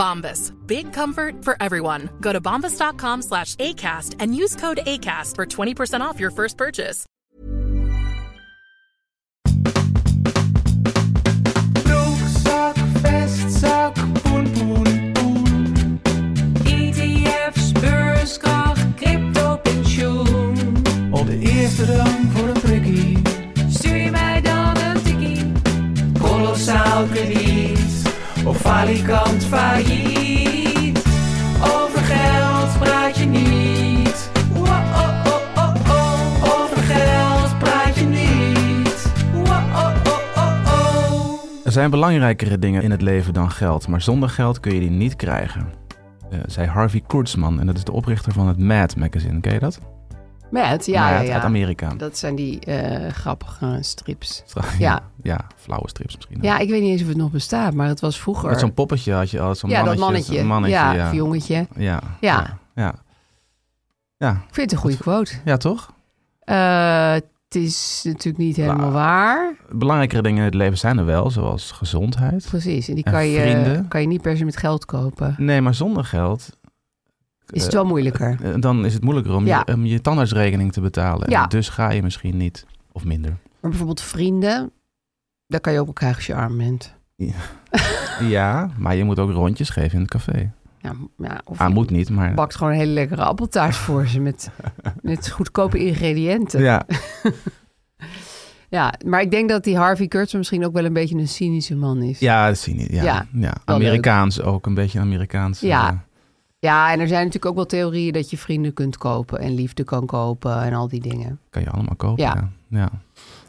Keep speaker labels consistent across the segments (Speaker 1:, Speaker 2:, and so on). Speaker 1: Bombas. Big comfort for everyone. Go to bombas.com slash ACAST and use code ACAST for 20% off your first purchase.
Speaker 2: Broekzak, vestzak, poen, poen, poen. ETF's, beurskracht, crypto, pensioen. Op de eerste rang voor een prikkie. Stuur je mij dan een tikkie. Kolossaal krediet. Of falikant failliet. Over geld praat je niet. Wa-oh-oh-oh-oh. Over geld praat je niet. Wa-oh-oh-oh-oh.
Speaker 3: Er zijn belangrijkere dingen in het leven dan geld, maar zonder geld kun je die niet krijgen. Eh zei Harvey Kurtzman, en dat is de oprichter van het Mad magazine. Ken je dat?
Speaker 4: Met, ja, ja,
Speaker 3: Mad
Speaker 4: ja.
Speaker 3: uit Amerika.
Speaker 4: Dat zijn die eh, grappige strips.
Speaker 3: ja.
Speaker 4: Ja.
Speaker 3: flauwe strips misschien.
Speaker 4: Ja, ik weet niet eens of het nog bestaat, maar het was vroeger.
Speaker 3: Met zo'n poppetje had je altijd zo'n
Speaker 4: ja,
Speaker 3: mannetje.
Speaker 4: dat mannetje.
Speaker 3: zo'n mannetje,
Speaker 4: ja,
Speaker 3: ja.
Speaker 4: of jongetje.
Speaker 3: Ja,
Speaker 4: Ja.
Speaker 3: ja, ja. Ja,
Speaker 4: Ik vind het een goede quote.
Speaker 3: ja, toch?
Speaker 4: Eh, het is natuurlijk niet helemaal
Speaker 3: Nou.
Speaker 4: waar.
Speaker 3: Belangrijkere dingen in het leven zijn er wel, zoals gezondheid.
Speaker 4: Precies. En die
Speaker 3: En
Speaker 4: kan je,
Speaker 3: vrienden?
Speaker 4: kan je niet per se met geld kopen.
Speaker 3: Nee, maar zonder geld...
Speaker 4: Is het
Speaker 3: eh,
Speaker 4: wel moeilijker.
Speaker 3: eh, Dan is het moeilijker om,
Speaker 4: Ja.
Speaker 3: je, om je tandartsrekening te betalen.
Speaker 4: Ja.
Speaker 3: En dus ga je misschien niet, of minder.
Speaker 4: Maar bijvoorbeeld vrienden, daar kan je ook wel krijgen als je arm bent.
Speaker 3: Ja, maar je moet ook rondjes geven in het café.
Speaker 4: Ja, ja, of
Speaker 3: Ah,
Speaker 4: je
Speaker 3: moet niet, maar...
Speaker 4: bakt gewoon een hele lekkere appeltaart voor ze met, met goedkope ingrediënten.
Speaker 3: Ja,
Speaker 4: Ja, maar ik denk dat die Harvey Kurtzman misschien ook wel een beetje een cynische man is.
Speaker 3: ja, dat zie je niet. Ja, ja,
Speaker 4: Ja, wel
Speaker 3: Amerikaans ook, een beetje Amerikaans.
Speaker 4: Ja.
Speaker 3: eh,
Speaker 4: Ja, en er zijn natuurlijk ook wel theorieën dat je vrienden kunt kopen en liefde kan kopen en al die dingen.
Speaker 3: kan je allemaal kopen, ja.
Speaker 4: Ja.
Speaker 3: Ja.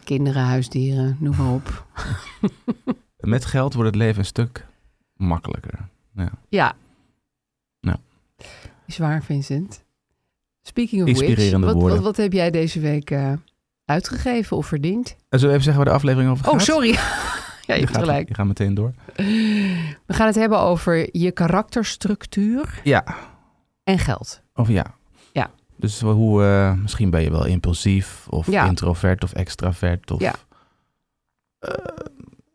Speaker 4: Kinderen, huisdieren, noem maar op.
Speaker 3: Met geld wordt het leven een stuk makkelijker.
Speaker 4: Ja.
Speaker 3: Ja.
Speaker 4: Is waar, Vincent. Speaking of
Speaker 3: Inspirerende
Speaker 4: which, wat,
Speaker 3: woorden.
Speaker 4: Wat, wat heb jij deze week eh, uitgegeven of verdiend?
Speaker 3: En zullen we even zeggen waar de aflevering over gaat?
Speaker 4: Oh, sorry. ja, je
Speaker 3: Je
Speaker 4: hebt
Speaker 3: gaat,
Speaker 4: gelijk.
Speaker 3: je gaat meteen door.
Speaker 4: We gaan het hebben over je karakterstructuur
Speaker 3: Ja,
Speaker 4: en geld.
Speaker 3: of ja.
Speaker 4: Ja.
Speaker 3: Dus wel hoe, eh, misschien ben je wel impulsief of
Speaker 4: Ja.
Speaker 3: introvert of extravert of
Speaker 4: Ja.
Speaker 3: eh,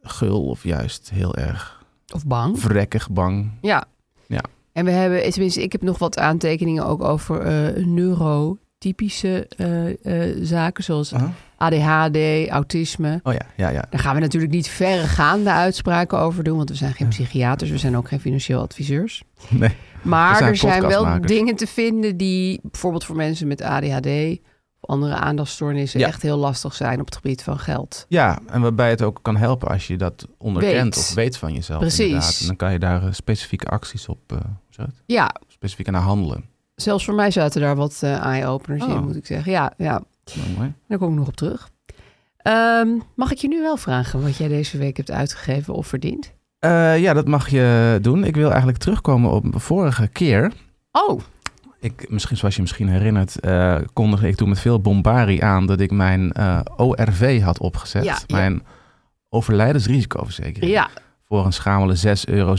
Speaker 3: gul of juist heel erg
Speaker 4: Of bang.
Speaker 3: vrekkig bang.
Speaker 4: Ja.
Speaker 3: Ja.
Speaker 4: En we hebben, tenminste, ik heb nog wat aantekeningen ook over eh, neurotypische eh, eh, zaken, zoals
Speaker 3: Aha.
Speaker 4: ADHD, autisme.
Speaker 3: Oh ja, ja, ja.
Speaker 4: Daar gaan we natuurlijk niet verregaande uitspraken over doen, want we zijn geen psychiaters, we zijn ook geen financieel adviseurs.
Speaker 3: Nee. We
Speaker 4: Maar
Speaker 3: zijn
Speaker 4: er zijn wel
Speaker 3: podcastmakers.
Speaker 4: dingen te vinden die bijvoorbeeld voor mensen met ADHD of andere aandachtstoornissen
Speaker 3: Ja.
Speaker 4: echt heel lastig zijn op het gebied van geld.
Speaker 3: Ja, en waarbij het ook kan helpen als je dat onderkent
Speaker 4: Weet.
Speaker 3: of weet van jezelf.
Speaker 4: Precies.
Speaker 3: Inderdaad. En dan kan je daar eh, specifieke acties op, eh, hoe zeg je dat?
Speaker 4: Ja,
Speaker 3: specifiek naar handelen.
Speaker 4: zelfs voor mij zaten daar wat eh, eye-openers
Speaker 3: Oh.
Speaker 4: in, moet ik zeggen. Ja, ja.
Speaker 3: Nou, mooi.
Speaker 4: Daar kom ik nog op terug. Ehm, mag ik je nu wel vragen wat jij deze week hebt uitgegeven of verdiend?
Speaker 3: Eh, ja, dat mag je doen. Ik wil eigenlijk terugkomen op de vorige keer.
Speaker 4: Oh,
Speaker 3: Ik, misschien, zoals je misschien herinnert, eh, kondigde ik toen met veel bombarie aan dat ik mijn eh, ORV had opgezet.
Speaker 4: Ja, ja.
Speaker 3: mijn overlijdensrisicoverzekering.
Speaker 4: ja.
Speaker 3: Voor een schamele 6,17 euro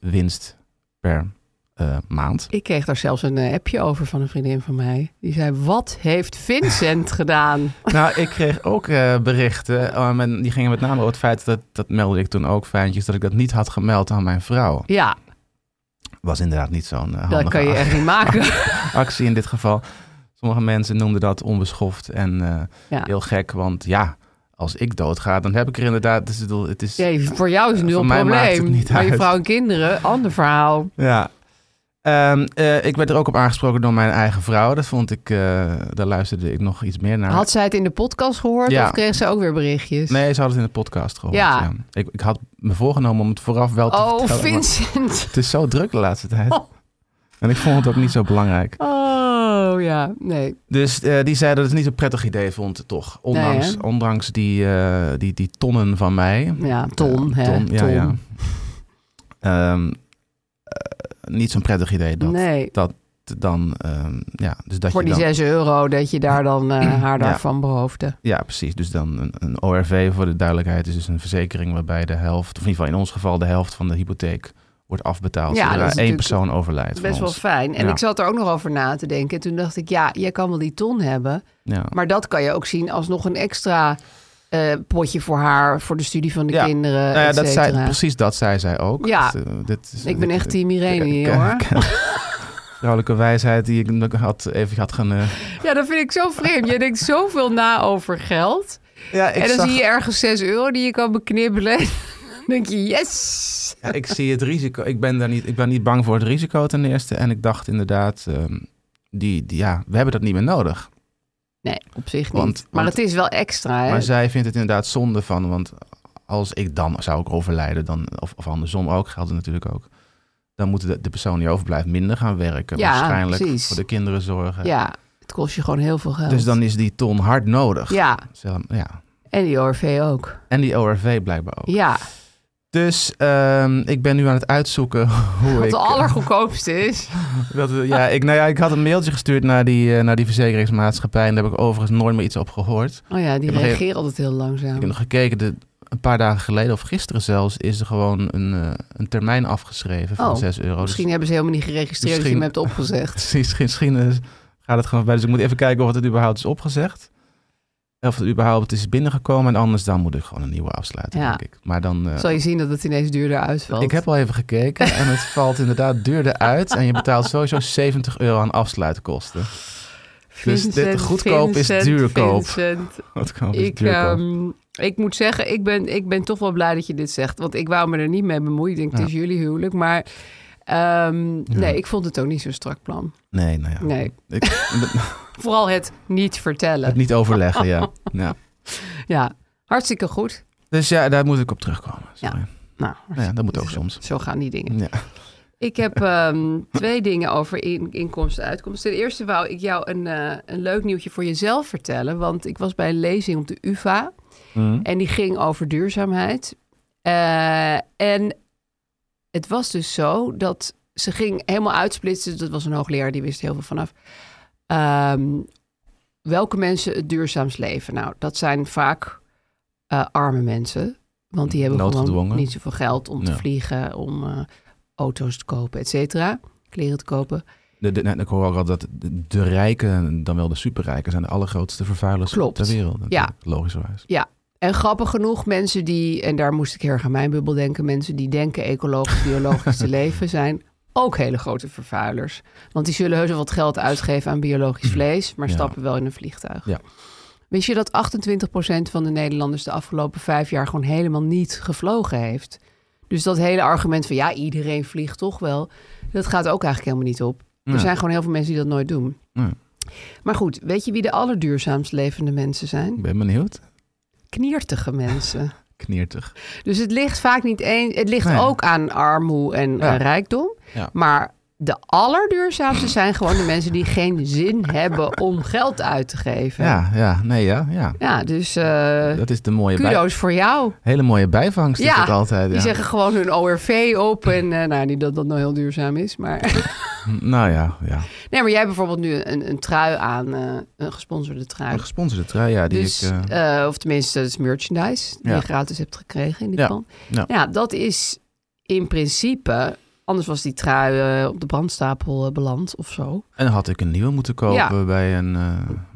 Speaker 3: winst per eh, maand.
Speaker 4: Ik kreeg daar zelfs een eh, appje over van een vriendin van mij. Die zei, wat heeft Vincent gedaan?
Speaker 3: Nou, ik kreeg ook eh, berichten. um, en die gingen met name over het feit dat, dat meldde ik toen ook fijntjes, dat ik dat niet had gemeld aan mijn vrouw.
Speaker 4: Ja,
Speaker 3: Was inderdaad niet zo'n eh, handige
Speaker 4: dat kan je echt niet maken.
Speaker 3: actie in dit geval. Sommige mensen noemden dat onbeschoft en eh,
Speaker 4: Ja.
Speaker 3: heel gek. Want ja, als ik doodga, dan heb ik er inderdaad. Dus ik bedoel, het is.
Speaker 4: Nee, voor jou is het nu
Speaker 3: Voor
Speaker 4: een
Speaker 3: mij maakt het
Speaker 4: probleem.
Speaker 3: niet
Speaker 4: Maar je
Speaker 3: uit.
Speaker 4: vrouw en kinderen, ander verhaal.
Speaker 3: Ja. Ehm, eh, ik werd er ook op aangesproken door mijn eigen vrouw. Dat vond ik, eh, daar luisterde ik nog iets meer naar.
Speaker 4: Had zij het in de podcast gehoord
Speaker 3: Ja.
Speaker 4: of kreeg ze ook weer berichtjes?
Speaker 3: Nee, ze had het in de podcast gehoord. Ja.
Speaker 4: Ja.
Speaker 3: Ik, ik had me voorgenomen om het vooraf wel te
Speaker 4: Oh,
Speaker 3: vertellen. maar
Speaker 4: Vincent.
Speaker 3: Het is zo druk de laatste tijd.
Speaker 4: Oh.
Speaker 3: En ik vond het ook niet zo belangrijk.
Speaker 4: Oh, ja. Nee.
Speaker 3: Dus eh, die zei dat het niet een prettig idee vond, toch? Ondanks,
Speaker 4: Nee, hè?
Speaker 3: ondanks die, eh, die, die tonnen van mij.
Speaker 4: Ja, Ton.
Speaker 3: Eh,
Speaker 4: hè.
Speaker 3: ton, ja,
Speaker 4: Ton.
Speaker 3: ja. Ehm, eh, niet zo'n prettig idee dat
Speaker 4: nee.
Speaker 3: dan... ehm, ja, dus dat
Speaker 4: Voor
Speaker 3: je
Speaker 4: die
Speaker 3: dan,
Speaker 4: 6 euro dat je daar dan eh, haar daarvan beroofde.
Speaker 3: Ja, precies. Dus dan een, een ORV, voor de duidelijkheid, is dus een verzekering waarbij de helft, of in ieder geval in ons geval, de helft van de hypotheek wordt afbetaald
Speaker 4: Ja,
Speaker 3: zodra
Speaker 4: dat is
Speaker 3: één
Speaker 4: natuurlijk
Speaker 3: persoon overlijdt.
Speaker 4: Best
Speaker 3: van
Speaker 4: wel
Speaker 3: ons.
Speaker 4: fijn. En
Speaker 3: Ja.
Speaker 4: ik zat er ook nog over na te denken. En toen dacht ik, ja, jij kan wel die ton hebben.
Speaker 3: Ja.
Speaker 4: Maar dat kan je ook zien als nog een extra eh, potje voor haar, voor de studie van de
Speaker 3: Ja.
Speaker 4: kinderen.
Speaker 3: Nou ja,
Speaker 4: et
Speaker 3: dat zei,
Speaker 4: cetera.
Speaker 3: precies dat zei zij ook.
Speaker 4: Ja.
Speaker 3: Dat, eh, dit is-
Speaker 4: Ik ben echt team Irene
Speaker 3: ik-
Speaker 4: hier, hoor.
Speaker 3: Vrouwelijke wijsheid die ik nog had, even had gaan... eh,
Speaker 4: Ja, dat vind ik zo vreemd. Je denkt zoveel na over geld.
Speaker 3: Ja, ik,
Speaker 4: en dan
Speaker 3: zag,
Speaker 4: zie je ergens 6 euro die je kan beknibbelen. dan denk je, yes!
Speaker 3: ja, ik zie het risico. Ik ben, daar niet, ik ben niet bang voor het risico ten eerste. En ik dacht inderdaad, ehm, die, die, ja, we hebben dat niet meer nodig.
Speaker 4: Nee, op zich niet.
Speaker 3: Want-
Speaker 4: maar
Speaker 3: want-
Speaker 4: het is wel extra, hè?
Speaker 3: Maar zij vindt het inderdaad zonde van, want als ik dan zou ik overlijden, dan, of, of andersom ook, geldt het natuurlijk ook. Dan moet de, de persoon die overblijft minder gaan werken.
Speaker 4: Ja,
Speaker 3: waarschijnlijk
Speaker 4: precies.
Speaker 3: voor de kinderen zorgen.
Speaker 4: Ja, het kost je gewoon heel veel geld.
Speaker 3: Dus dan is die ton hard nodig.
Speaker 4: Ja,
Speaker 3: Zo, ja.
Speaker 4: en die ORV ook.
Speaker 3: En die ORV blijkbaar ook.
Speaker 4: Ja,
Speaker 3: Dus ehm, ik ben nu aan het uitzoeken hoe
Speaker 4: wat
Speaker 3: ik...
Speaker 4: de allergoedkoopste is.
Speaker 3: dat, ja, ik, nou ja, ik had een mailtje gestuurd naar die, eh, naar die verzekeringsmaatschappij. En daar heb ik overigens nooit meer iets op gehoord.
Speaker 4: Oh ja, die
Speaker 3: heb nog
Speaker 4: reageert altijd heel
Speaker 3: Ik
Speaker 4: langzaam.
Speaker 3: heb nog gekeken, de, een paar dagen geleden of gisteren zelfs, is er gewoon een, eh, een termijn afgeschreven van
Speaker 4: Oh,
Speaker 3: 6 euro. Dus
Speaker 4: Misschien hebben ze helemaal niet geregistreerd dat je hem hebt
Speaker 3: Misschien-
Speaker 4: opgezegd.
Speaker 3: Dus, misschien misschien eh, gaat het gewoon bij. Dus ik moet even kijken of het überhaupt is opgezegd. Of het überhaupt is binnengekomen. En anders dan moet ik gewoon een nieuwe afsluiten,
Speaker 4: Ja.
Speaker 3: denk ik. Maar dan... eh,
Speaker 4: Zal je zien dat het ineens duurder uitvalt.
Speaker 3: ik heb al even gekeken en het valt inderdaad duurder uit. En je betaalt sowieso 70 euro aan afsluitkosten. dus dit goedkoop is duurkoop.
Speaker 4: Vincent,
Speaker 3: Wat kan dus
Speaker 4: ik,
Speaker 3: duurkoop.
Speaker 4: ehm, ik moet zeggen, ik ben, ik ben toch wel blij dat je dit zegt. Want ik wou me er niet mee bemoeien. Ik denk,
Speaker 3: Ja.
Speaker 4: het is jullie huwelijk. Maar ehm, nee, ik vond het ook niet zo'n strak plan.
Speaker 3: Nee, nou ja.
Speaker 4: nee.
Speaker 3: Ik,
Speaker 4: Vooral het niet vertellen.
Speaker 3: het niet overleggen, ja. ja.
Speaker 4: Ja, hartstikke goed.
Speaker 3: Dus ja, daar moet ik op terugkomen. Sorry.
Speaker 4: Ja. Nou,
Speaker 3: Nou ja, dat moet ook soms.
Speaker 4: zo gaan die dingen.
Speaker 3: Ja.
Speaker 4: Ik heb ehm, twee dingen over in, inkomsten en uitkomsten. Ten eerste wou ik jou een, eh, een leuk nieuwtje voor jezelf vertellen. Want ik was bij een lezing op de UvA.
Speaker 3: Mhm.
Speaker 4: En die ging over duurzaamheid. Eh, en het was dus zo dat ze ging helemaal uitsplitsen. Dat was een hoogleraar, die wist heel veel vanaf. Ehm, welke mensen het duurzaamst leven? Nou, dat zijn vaak eh, arme mensen. Want die hebben gewoon
Speaker 3: Noodgedwongen.
Speaker 4: niet zoveel geld om te
Speaker 3: Ja.
Speaker 4: vliegen, om eh, auto's te kopen, et cetera. Kleren te kopen.
Speaker 3: De, de, nou, ik hoor ook al dat de, de rijken, dan wel de superrijken, zijn de allergrootste vervuilers
Speaker 4: Klopt.
Speaker 3: ter wereld.
Speaker 4: Ja.
Speaker 3: natuurlijk, Logischerwijs.
Speaker 4: Ja. En grappig genoeg, mensen die, en daar moest ik heel erg aan mijn bubbel denken, mensen die denken ecologisch, biologisch te leven, zijn ook hele grote vervuilers. Want die zullen heus wel wat geld uitgeven aan biologisch vlees, maar
Speaker 3: Mhm. Ja.
Speaker 4: stappen wel in een vliegtuig.
Speaker 3: Ja.
Speaker 4: Wist je dat 28% van de Nederlanders de afgelopen vijf jaar gewoon helemaal niet gevlogen heeft? Dus dat hele argument van ja, iedereen vliegt toch wel, dat gaat ook eigenlijk helemaal niet op.
Speaker 3: Ja.
Speaker 4: Er zijn gewoon heel veel mensen die dat nooit doen.
Speaker 3: Ja.
Speaker 4: Maar goed, weet je wie de allerduurzaamst levende mensen zijn?
Speaker 3: Ik ben benieuwd.
Speaker 4: kniertige mensen.
Speaker 3: Kniertig.
Speaker 4: Dus het ligt vaak niet eens. Het ligt
Speaker 3: Nee.
Speaker 4: ook aan armoe en
Speaker 3: Ja.
Speaker 4: eh, rijkdom.
Speaker 3: Ja.
Speaker 4: Maar de allerduurzaamste zijn gewoon de mensen die geen zin hebben om geld uit te geven.
Speaker 3: Ja, ja, nee, ja, ja.
Speaker 4: Ja, dus eh
Speaker 3: Dat is de mooie bij,
Speaker 4: kudo's voor jou.
Speaker 3: hele mooie bijvangst. Is
Speaker 4: Ja,
Speaker 3: dat altijd,
Speaker 4: Die
Speaker 3: ja.
Speaker 4: zeggen gewoon hun ORV op. En eh, nou, niet dat dat nou heel duurzaam is. Maar,
Speaker 3: Nou ja, ja.
Speaker 4: nee, maar jij hebt bijvoorbeeld nu een, een trui aan. eh, een gesponsorde trui.
Speaker 3: Een gesponsorde trui, ja, die
Speaker 4: dus,
Speaker 3: ik... eh,
Speaker 4: eh, of tenminste, het is merchandise die
Speaker 3: Ja.
Speaker 4: je gratis hebt gekregen in die
Speaker 3: Ja,
Speaker 4: pan. Nou
Speaker 3: ja.
Speaker 4: Ja. dat is in principe... Anders was die trui eh, op de brandstapel eh, beland of zo.
Speaker 3: en had ik een nieuwe moeten kopen
Speaker 4: Ja.
Speaker 3: bij een eh,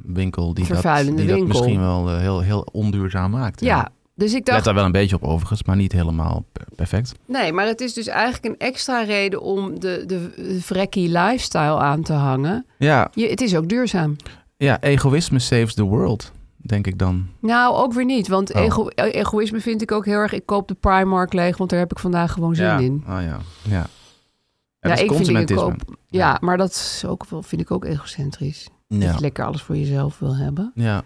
Speaker 3: winkel die, dat, die
Speaker 4: Vervuilende
Speaker 3: dat
Speaker 4: winkel.
Speaker 3: misschien wel eh, heel, heel onduurzaam maakt.
Speaker 4: Ja, dus ik
Speaker 3: Let
Speaker 4: dacht...
Speaker 3: daar wel een beetje op overigens, maar niet helemaal per- perfect.
Speaker 4: Nee, maar het is dus eigenlijk een extra reden om de, de, de vrekkie lifestyle aan te hangen.
Speaker 3: Ja,
Speaker 4: Je, het is ook duurzaam.
Speaker 3: ja, egoïsme saves the world, denk ik dan.
Speaker 4: Nou, ook weer niet. Want
Speaker 3: Oh.
Speaker 4: ego- eh, egoïsme
Speaker 3: Ah,
Speaker 4: vind ik ook heel erg... Ik koop de Primark leeg, want daar heb ik vandaag gewoon zin in.
Speaker 3: Oh ja. ja. dat is
Speaker 4: ik vind dingen
Speaker 3: consumentisme.
Speaker 4: koop- Ja, maar dat is ook, wel- vind ik ook egocentrisch. Dat
Speaker 3: Ja.
Speaker 4: je lekker alles voor jezelf wil hebben.
Speaker 3: Ja.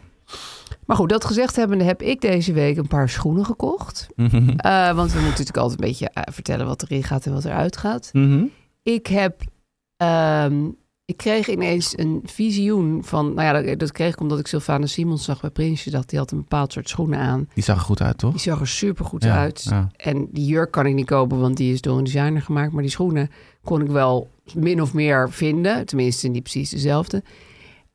Speaker 4: Maar goed, dat gezegd hebbende heb ik deze week een paar schoenen gekocht.
Speaker 3: Mhm.
Speaker 4: Eh, want we moeten natuurlijk altijd een beetje eh, vertellen wat erin gaat en wat eruit gaat.
Speaker 3: Mhm.
Speaker 4: Ik heb. ehm, ik kreeg ineens een visioen van. Nou ja, dat, dat kreeg ik omdat ik Sylvana Simons zag bij Prinsje. Dat die had een bepaald soort schoenen aan.
Speaker 3: Die zag er goed uit, toch?
Speaker 4: Die zag er supergoed
Speaker 3: Ja,
Speaker 4: uit.
Speaker 3: ja.
Speaker 4: En die jurk kan ik niet kopen, want die is door een designer gemaakt. Maar die schoenen kon ik wel min of meer vinden. Tenminste, niet precies dezelfde.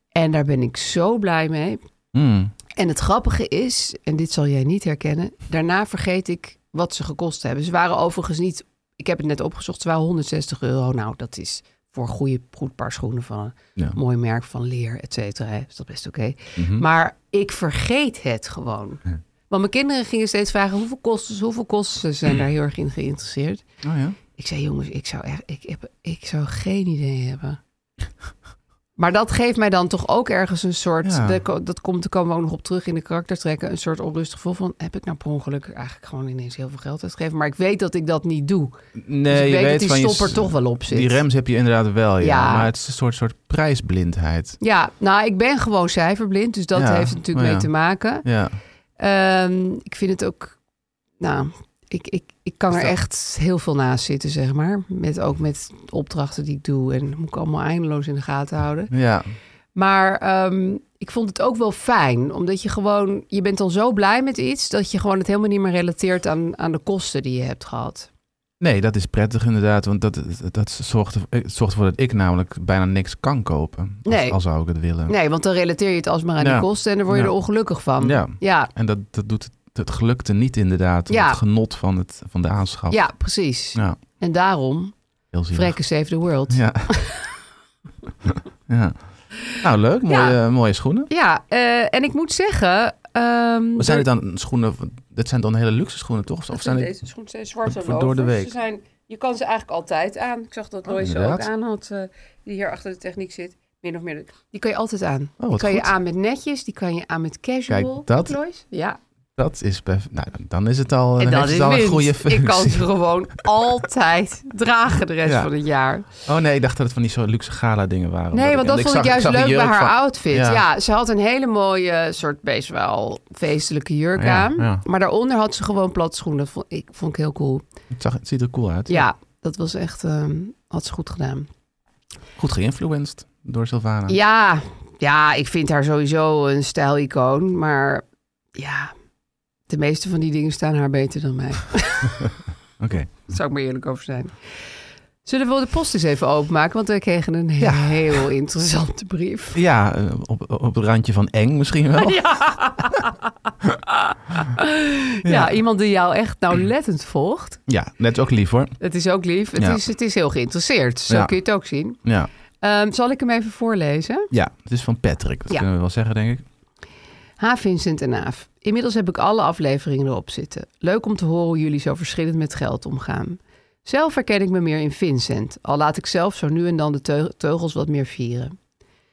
Speaker 4: En daar ben ik zo blij mee.
Speaker 3: Mm.
Speaker 4: En het grappige is, en dit zal jij niet herkennen, daarna vergeet ik wat ze gekost hebben. Ze waren overigens niet, ik heb het net opgezocht, ze waren 160 euro. Nou, dat is voor een goede, goed paar schoenen van een
Speaker 3: Ja.
Speaker 4: mooi merk van leer, et cetera. hè, Is dat best oké. Maar ik vergeet het gewoon. Want mijn kinderen gingen steeds vragen, hoeveel kosten ze, hoeveel kosten ze? Ze zijn daar heel erg in geïnteresseerd.
Speaker 3: Oh ja.
Speaker 4: Ik zei, jongens, ik zou, echt, ik, heb, ik zou geen idee hebben. Maar dat geeft mij dan toch ook ergens een soort...
Speaker 3: Ja.
Speaker 4: de- dat komt, daar komen we ook nog op terug in de karaktertrekken... een soort onrustig gevoel van... heb ik nou per ongeluk eigenlijk gewoon ineens heel veel geld uitgegeven? Maar ik weet dat ik dat niet doe.
Speaker 3: Nee,
Speaker 4: dus ik
Speaker 3: je
Speaker 4: weet, dat die
Speaker 3: van je-
Speaker 4: stopper toch wel op zit.
Speaker 3: Die rems heb je inderdaad wel, ja.
Speaker 4: Ja.
Speaker 3: Maar het is een soort, soort prijsblindheid.
Speaker 4: Ja, nou, ik ben gewoon cijferblind. Dus dat
Speaker 3: Ja,
Speaker 4: heeft er natuurlijk
Speaker 3: maar
Speaker 4: mee
Speaker 3: ja.
Speaker 4: te maken.
Speaker 3: Ja.
Speaker 4: Ehm, ik vind het ook... Nou, ik, ik, ik kan
Speaker 3: Is
Speaker 4: er
Speaker 3: dat-
Speaker 4: echt heel veel naast zitten, zeg maar. Met, ook met opdrachten die ik doe. En dat moet ik allemaal eindeloos in de gaten houden.
Speaker 3: Ja.
Speaker 4: Maar ehm, ik vond het ook wel fijn, omdat je gewoon, je bent dan zo blij met iets dat je gewoon het helemaal niet meer relateert aan, aan de kosten die je hebt gehad.
Speaker 3: Nee, dat is prettig inderdaad. Want dat, dat zorgt, er- het zorgt ervoor dat ik namelijk bijna niks kan kopen. Als-
Speaker 4: Nee.
Speaker 3: Al, zou ik het willen.
Speaker 4: Nee, want dan relateer je het alsmaar aan
Speaker 3: Ja.
Speaker 4: die kosten en dan word je
Speaker 3: Ja.
Speaker 4: er ongelukkig van.
Speaker 3: Ja.
Speaker 4: ja,
Speaker 3: En dat, dat doet het, het geluk er niet inderdaad.
Speaker 4: Ja.
Speaker 3: Het genot van, het, van de aanschaf.
Speaker 4: ja, precies.
Speaker 3: Ja.
Speaker 4: En daarom,
Speaker 3: Heel zielig.
Speaker 4: Vrekken Save the World.
Speaker 3: Ja.
Speaker 4: Ja,
Speaker 3: ja. Nou, leuk. Mooie, mooie schoenen.
Speaker 4: eh, en ik moet zeggen... ehm,
Speaker 3: Maar zijn dit dan schoenen... Dat zijn dan hele luxe schoenen, toch? Of zijn dit...
Speaker 4: deze schoenen zijn zwart en
Speaker 3: voor door de
Speaker 4: lovers.
Speaker 3: week.
Speaker 4: Ze zijn, je kan ze eigenlijk altijd aan. Ik zag dat Lois ze ook
Speaker 3: inderdaad.
Speaker 4: aan had, eh, die hier achter de techniek zit. Min of meer. Die kan je altijd aan.
Speaker 3: Oh, wat
Speaker 4: die kan je
Speaker 3: goed.
Speaker 4: aan met netjes, die kan je aan met casual.
Speaker 3: Kijk, dat-
Speaker 4: Lois? Ja.
Speaker 3: Dat is... perf- Nou, dan is het al,
Speaker 4: en
Speaker 3: dan
Speaker 4: dat
Speaker 3: heeft
Speaker 4: is
Speaker 3: het al een
Speaker 4: winst.
Speaker 3: goede functie.
Speaker 4: Ik kan ze gewoon altijd dragen de rest
Speaker 3: Ja.
Speaker 4: van het jaar.
Speaker 3: Oh nee, ik dacht dat het van die zo luxe gala dingen waren.
Speaker 4: Nee, want dat vond ik,
Speaker 3: zag-
Speaker 4: juist
Speaker 3: zag een
Speaker 4: leuk bij
Speaker 3: jurk
Speaker 4: haar
Speaker 3: van-
Speaker 4: outfit. Ja. ze had een hele mooie eh, soort best wel feestelijke jurk
Speaker 3: Ja,
Speaker 4: aan.
Speaker 3: ja.
Speaker 4: Maar daaronder had ze gewoon plat schoenen. Dat vond ik, vond ik heel cool.
Speaker 3: Het, zag, het ziet er cool uit.
Speaker 4: Ja, dat was echt, ehm, had ze goed gedaan.
Speaker 3: Goed geïnfluenced door Sylvana.
Speaker 4: Ja, ja, ik vind haar sowieso een stijlicoon. Maar ja, de meeste van die dingen staan haar beter dan mij.
Speaker 3: Oké.
Speaker 4: Daar zou ik maar eerlijk over zijn. Zullen we de post eens even openmaken? Want we kregen een heel interessante brief.
Speaker 3: Ja, eh, op, op het randje van eng misschien wel.
Speaker 4: Ja. iemand die jou echt nauwlettend volgt.
Speaker 3: Ja, net ook lief hoor.
Speaker 4: Het is ook lief. Het,
Speaker 3: Ja.
Speaker 4: is, het is heel geïnteresseerd. Zo
Speaker 3: Ja.
Speaker 4: kun je het ook zien.
Speaker 3: Ja.
Speaker 4: Ehm, zal ik hem even voorlezen?
Speaker 3: ja, het is van Patrick. Dat
Speaker 4: Ja.
Speaker 3: kunnen we wel zeggen, denk ik.
Speaker 4: Ha Vincent en Aaf. Inmiddels heb ik alle afleveringen erop zitten. Leuk om te horen hoe jullie zo verschillend met geld omgaan. Zelf herken ik me meer in Vincent, al laat ik zelf zo nu en dan de teu- teugels wat meer vieren.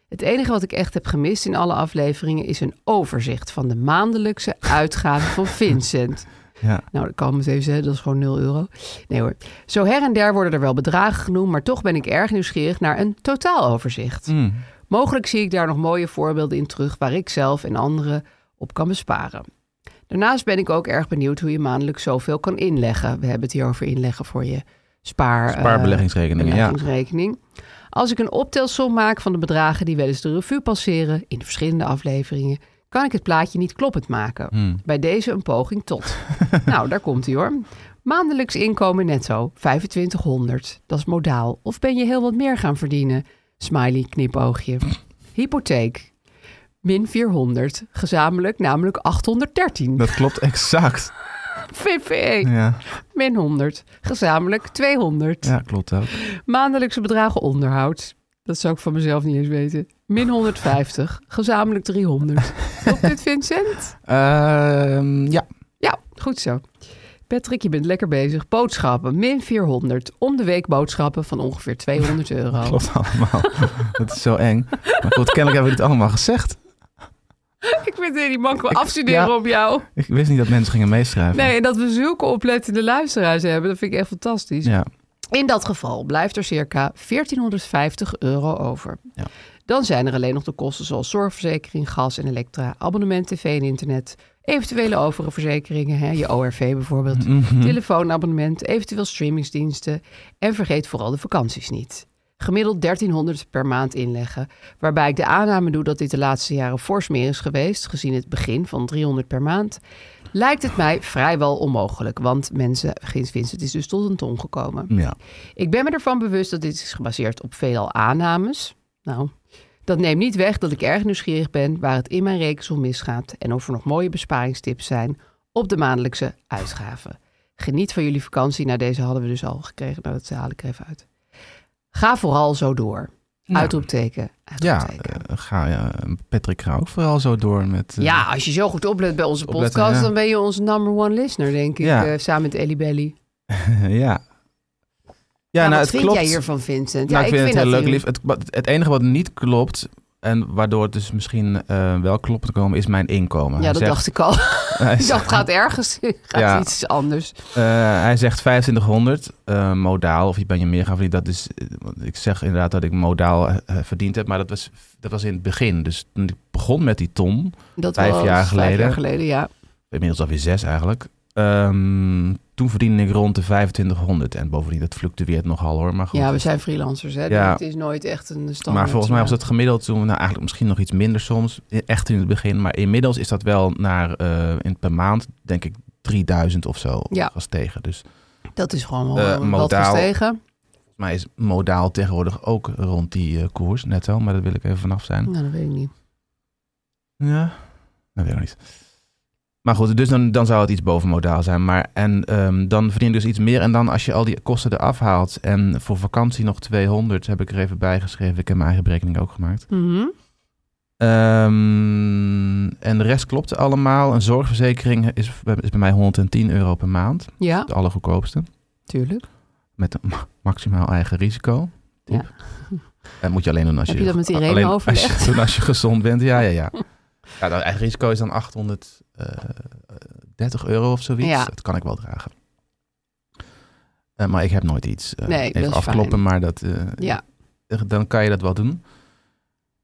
Speaker 4: Het enige wat ik echt heb gemist in alle afleveringen is een overzicht van de maandelijkse uitgaven van Vincent.
Speaker 3: Ja.
Speaker 4: Nou, dat kan ik meteen zeggen, dat is gewoon 0 euro. Nee hoor. Zo her en der worden er wel bedragen genoemd, maar toch ben ik erg nieuwsgierig naar een totaaloverzicht. Mogelijk zie ik daar nog mooie voorbeelden in terug waar ik zelf en anderen op kan besparen. Daarnaast ben ik ook erg benieuwd hoe je maandelijk zoveel kan inleggen. We hebben het hier over inleggen voor je spaar,
Speaker 3: Spaarbeleggingsrekeningen, ja.
Speaker 4: eh, beleggingsrekening. Als ik een optelsom maak van de bedragen die wel eens de revue passeren in de verschillende afleveringen, kan ik het plaatje niet kloppend maken.
Speaker 3: Hmm.
Speaker 4: Bij deze een poging tot. nou, daar komt hij hoor. Maandelijks inkomen netto 2500. Dat is modaal. Of ben je heel wat meer gaan verdienen? Smiley knipoogje. Hypotheek. Min 400. Gezamenlijk namelijk 813.
Speaker 3: Dat klopt exact.
Speaker 4: VVE.
Speaker 3: Ja,
Speaker 4: E. Min 100. Gezamenlijk 200.
Speaker 3: ja klopt ook.
Speaker 4: Maandelijkse bedragen onderhoud. Dat zou ik van mezelf niet eens weten. Min 150. Gezamenlijk 300. Klopt dit, Vincent?
Speaker 3: Ehm, ja,
Speaker 4: Ja, goed zo. Patrick, je bent lekker bezig. Boodschappen, min 400. Om de week boodschappen van ongeveer 200 euro.
Speaker 3: klopt allemaal. dat is zo eng. Maar goed, kennelijk hebben we dit allemaal gezegd.
Speaker 4: Ik vind die man gewoon afstuderen
Speaker 3: ja.
Speaker 4: op jou.
Speaker 3: Ik wist niet dat mensen gingen meeschrijven.
Speaker 4: Nee, en dat we zulke oplettende luisteraars hebben, dat vind ik echt fantastisch.
Speaker 3: Ja.
Speaker 4: In dat geval blijft er circa 1450 euro over.
Speaker 3: Ja.
Speaker 4: Dan zijn er alleen nog de kosten zoals zorgverzekering, gas en elektra, abonnement, tv en internet, eventuele overige verzekeringen, hè, je ORV bijvoorbeeld, telefoonabonnement, eventueel streamingsdiensten en vergeet vooral de vakanties niet. Gemiddeld 1300 per maand inleggen, waarbij ik de aanname doe dat dit de laatste jaren fors meer is geweest, gezien het begin van 300 per maand, lijkt het mij vrijwel onmogelijk, want mensen, Gins Vincent is dus tot een ton gekomen.
Speaker 3: Ja.
Speaker 4: Ik ben me ervan bewust dat dit is gebaseerd op veelal aannames. Nou, dat neemt niet weg dat ik erg nieuwsgierig ben waar het in mijn rekensom misgaat en of er nog mooie besparingstips zijn op de maandelijkse uitgaven. Geniet van jullie vakantie. Nou, deze hadden we dus al gekregen. Nou, dat haal ik er even uit. Ga vooral zo door. Uitroepteken.
Speaker 3: Ja,
Speaker 4: uitroepteken.
Speaker 3: eh, ga, ja, Patrick ga ook vooral zo door met... eh,
Speaker 4: ja, als je zo goed oplet bij onze
Speaker 3: Opletten,
Speaker 4: podcast,
Speaker 3: ja.
Speaker 4: dan ben je onze number one listener, denk ik.
Speaker 3: Ja.
Speaker 4: eh, samen met Ellie Belly.
Speaker 3: ja.
Speaker 4: Ja,
Speaker 3: Ja, nou,
Speaker 4: wat
Speaker 3: het
Speaker 4: vind
Speaker 3: klopt.
Speaker 4: jij hiervan, Vincent?
Speaker 3: Nou, ik vind, het heel
Speaker 4: dat
Speaker 3: leuk,
Speaker 4: hier-
Speaker 3: lief. Het, wat- het enige wat niet klopt, en waardoor het dus misschien eh, wel klopt te komen, is mijn inkomen.
Speaker 4: Ja,
Speaker 3: Hij
Speaker 4: dat
Speaker 3: zegt-
Speaker 4: dacht ik al.
Speaker 3: hij
Speaker 4: Ik dacht,
Speaker 3: zegt,
Speaker 4: gaat ergens gaat
Speaker 3: Ja.
Speaker 4: iets anders.
Speaker 3: eh, hij zegt 2500 eh, modaal, of je ben je meer gaan verdienen. Dat is, eh, want ik zeg inderdaad dat ik modaal eh, eh, verdiend heb, maar dat was, dat was in het begin. Dus toen ik begon met die ton,
Speaker 4: Dat
Speaker 3: Vijf
Speaker 4: was
Speaker 3: jaar
Speaker 4: Vijf
Speaker 3: geleden.
Speaker 4: jaar geleden, ja.
Speaker 3: inmiddels alweer zes eigenlijk, ehm, toen verdiende ik rond de 2500. En bovendien, dat fluctueert nogal hoor. Maar goed,
Speaker 4: Ja, we zijn freelancers, hè. dus
Speaker 3: Ja.
Speaker 4: Het is nooit echt een standaard.
Speaker 3: Maar volgens mij was
Speaker 4: maar-
Speaker 3: dat gemiddeld toen, nou eigenlijk misschien nog iets minder soms, e- echt in het begin. Maar inmiddels is dat wel naar, eh, in, per maand denk ik 3000 of zo
Speaker 4: Ja.
Speaker 3: gestegen. Dus volgens
Speaker 4: Dat is gewoon wel
Speaker 3: Eh,
Speaker 4: wat
Speaker 3: modaal.
Speaker 4: gestegen.
Speaker 3: mij is modaal tegenwoordig ook rond die eh, koers netto, maar daar wil ik even vanaf zijn.
Speaker 4: Nou, dat weet ik niet.
Speaker 3: Ja, dat weet ik nog niet. Maar goed, dus dan, dan zou het iets boven modaal zijn. Maar en ehm, dan verdien je dus iets meer. En dan als je al die kosten eraf haalt en voor vakantie nog 200 heb ik er even bij geschreven. Ik heb mijn eigen berekening ook gemaakt.
Speaker 4: Mhm.
Speaker 3: Ehm, en de rest klopt allemaal. Een zorgverzekering is, is bij mij 110 euro per maand.
Speaker 4: Ja,
Speaker 3: De allergoedkoopste.
Speaker 4: tuurlijk.
Speaker 3: Met een ma- maximaal eigen risico. Tip. En moet je alleen doen als
Speaker 4: Heb
Speaker 3: je...
Speaker 4: je dat met Irene
Speaker 3: alleen als je-
Speaker 4: overlegd?
Speaker 3: doen als je gezond bent. Ja, ja, ja. ja dat eigen risico is dan 830 euro of zoiets.
Speaker 4: Ja.
Speaker 3: Dat kan ik wel dragen. Eh, maar ik heb nooit iets. eh,
Speaker 4: Nee,
Speaker 3: even
Speaker 4: dat is
Speaker 3: afkloppen,
Speaker 4: fijn.
Speaker 3: maar dat, eh,
Speaker 4: Ja.
Speaker 3: dan kan je dat wel doen.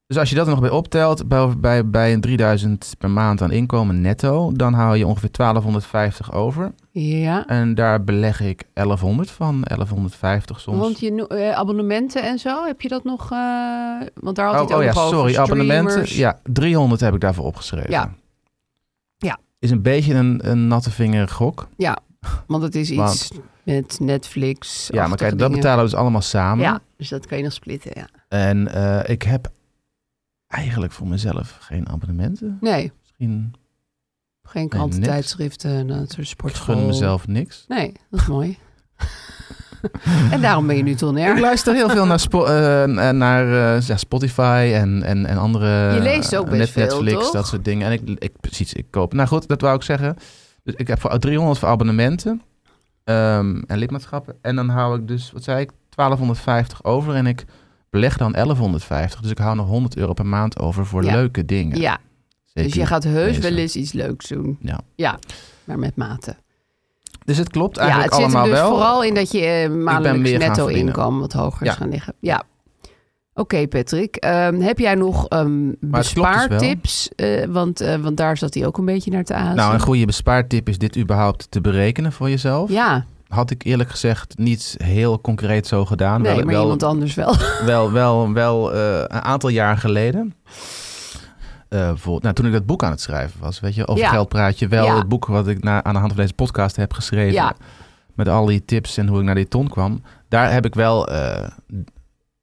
Speaker 3: Dus als je dat er nog bij optelt, bij, bij, bij een 3000 per maand aan inkomen netto, dan hou je ongeveer 1250 over.
Speaker 4: Ja.
Speaker 3: En daar beleg ik 1100 van, 1150 soms.
Speaker 4: Want je no- eh, abonnementen en zo, heb je dat nog? eh, want daar had hij
Speaker 3: oh,
Speaker 4: het ook
Speaker 3: oh ja,
Speaker 4: nog over,
Speaker 3: sorry,
Speaker 4: streamers.
Speaker 3: abonnementen. Ja, 300 heb ik daarvoor opgeschreven.
Speaker 4: Ja. Ja.
Speaker 3: Is een beetje een, een natte vinger gok.
Speaker 4: Want het is iets met Netflix.
Speaker 3: Ja, maar kijk, dat
Speaker 4: dingen.
Speaker 3: betalen we dus allemaal samen.
Speaker 4: Ja, dus dat kan je nog splitten, ja.
Speaker 3: En eh, ik heb eigenlijk voor mezelf geen abonnementen.
Speaker 4: Nee,
Speaker 3: Misschien,
Speaker 4: geen
Speaker 3: niks.
Speaker 4: krantentijdschriften, dat soort
Speaker 3: ik
Speaker 4: sportschool.
Speaker 3: gun mezelf niks.
Speaker 4: Nee, dat is mooi. en daarom ben je nu
Speaker 3: Ik
Speaker 4: tonair.
Speaker 3: luister heel veel naar, Spo- eh, eh, naar eh, ja, Spotify en, en, en andere...
Speaker 4: Je leest ook
Speaker 3: eh,
Speaker 4: best veel,
Speaker 3: Netflix,
Speaker 4: toch?
Speaker 3: dat soort dingen. En ik, ik, precies, ik koop... Nou goed, dat wou ik zeggen. Dus ik heb voor 300 voor abonnementen ehm, en lidmaatschappen. En dan hou ik dus, wat zei ik, 1250 over. En ik beleg dan 1150. Dus ik hou nog 100 euro per maand over voor
Speaker 4: Ja.
Speaker 3: leuke dingen.
Speaker 4: Ja, dus
Speaker 3: Zeker
Speaker 4: je gaat heus
Speaker 3: lezen.
Speaker 4: wel eens iets leuks doen.
Speaker 3: Ja.
Speaker 4: maar met mate.
Speaker 3: Dus het klopt
Speaker 4: Ja,
Speaker 3: eigenlijk
Speaker 4: het zit
Speaker 3: allemaal
Speaker 4: er dus
Speaker 3: wel.
Speaker 4: vooral in dat je eh, maandelijks
Speaker 3: meer gaan
Speaker 4: netto
Speaker 3: verdienen.
Speaker 4: inkomen wat hoger
Speaker 3: Ja.
Speaker 4: is gaan liggen. Ja. Oké, Patrick. Ehm, heb jij nog ehm
Speaker 3: het klopt dus wel.
Speaker 4: bespaartips? Eh, want, eh, want daar zat hij ook een beetje naar te aanzien.
Speaker 3: Nou, een goede bespaartip is dit überhaupt te berekenen voor jezelf.
Speaker 4: Ja,
Speaker 3: Had ik eerlijk gezegd niet heel concreet zo gedaan.
Speaker 4: nee,
Speaker 3: wel,
Speaker 4: maar
Speaker 3: wel,
Speaker 4: iemand anders wel.
Speaker 3: wel, wel, wel eh, een aantal jaar geleden. Eh, bijvoorbeeld, nou, toen ik dat boek aan het schrijven was, weet je, over
Speaker 4: Ja.
Speaker 3: geld praat je wel.
Speaker 4: Ja.
Speaker 3: Het boek wat ik na, aan de hand van deze podcast heb geschreven.
Speaker 4: Ja.
Speaker 3: Met al die tips en hoe ik naar die ton kwam. Daar heb ik wel eh,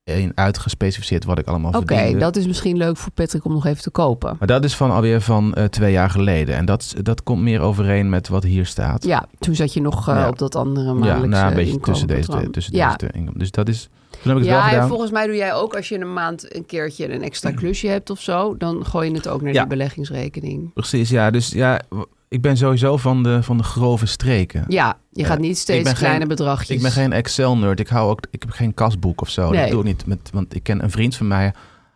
Speaker 3: in uitgespecificeerd wat ik allemaal
Speaker 4: Oké,
Speaker 3: verdiende.
Speaker 4: dat is misschien leuk voor Patrick om nog even te kopen.
Speaker 3: Maar dat is van alweer van eh, twee jaar geleden. En dat, dat komt meer overeen met wat hier staat.
Speaker 4: Ja, toen zat je nog eh,
Speaker 3: Ja.
Speaker 4: op dat andere
Speaker 3: Ja,
Speaker 4: maandelijkse
Speaker 3: nou, een beetje
Speaker 4: inkomen
Speaker 3: tussen deze twee.
Speaker 4: patroon.
Speaker 3: Tussen
Speaker 4: ja.
Speaker 3: deze twee inkomen. Dus dat is. Toen heb ik het wel
Speaker 4: Ja, en
Speaker 3: gedaan.
Speaker 4: volgens mij doe jij ook als je in een maand een keertje een extra klusje hebt of zo, dan gooi je het ook naar
Speaker 3: Ja.
Speaker 4: die beleggingsrekening.
Speaker 3: Precies, ja. Dus ja, w- ik ben sowieso van de, van de grove streken.
Speaker 4: Ja, je gaat niet steeds
Speaker 3: ben geen-
Speaker 4: kleine bedragjes.
Speaker 3: Ik ben geen Excel-nerd. Ik, hou ook, ik heb geen kasboek of zo.
Speaker 4: Nee.
Speaker 3: Dat doe ik niet. Met, want ik ken een vriend van mij.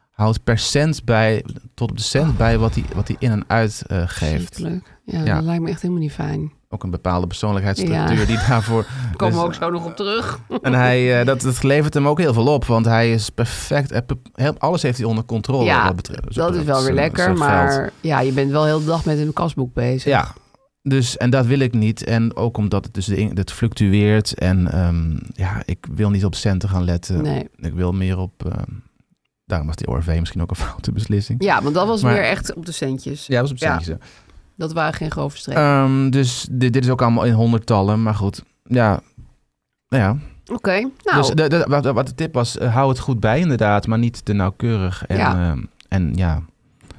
Speaker 3: Houdt per cent bij, tot op de cent bij wat hij wat hij in en uit eh, geeft.
Speaker 4: Oh. Verschrikkelijk. Ja,
Speaker 3: Ja.
Speaker 4: dat lijkt me echt helemaal niet fijn.
Speaker 3: ook een bepaalde persoonlijkheidsstructuur
Speaker 4: Ja.
Speaker 3: die daarvoor...
Speaker 4: Komen
Speaker 3: dus-
Speaker 4: we ook zo nog op terug.
Speaker 3: En hij, eh, dat, dat levert hem ook heel veel op, want hij is perfect. eh, pe- heel- Alles heeft hij onder controle.
Speaker 4: Ja,
Speaker 3: wat betreft, Dus wat
Speaker 4: Dat is
Speaker 3: betreft
Speaker 4: wel weer
Speaker 3: zijn- zijn
Speaker 4: lekker,
Speaker 3: geld.
Speaker 4: maar ja, je bent wel heel de dag met een kasboek bezig.
Speaker 3: Ja, dus en dat wil ik niet. En ook omdat het dus de in- het fluctueert. En ehm, ja, ik wil niet op centen gaan letten.
Speaker 4: Nee.
Speaker 3: Ik wil meer op. ehm, daarom was die ORV misschien ook een foute beslissing.
Speaker 4: Ja, want dat was
Speaker 3: Maar-
Speaker 4: meer echt op de centjes.
Speaker 3: Ja, dat was op
Speaker 4: Ja.
Speaker 3: centjes. hè.
Speaker 4: Dat waren geen grove streken.
Speaker 3: Ehm, dus dit, dit is ook allemaal in honderdtallen. Maar goed, ja. Nou ja,
Speaker 4: Oké, nou,
Speaker 3: Dus de, de- wat, wat de tip was, eh, hou het goed bij inderdaad, maar niet te nauwkeurig. En
Speaker 4: Ja.
Speaker 3: ja, en, ja.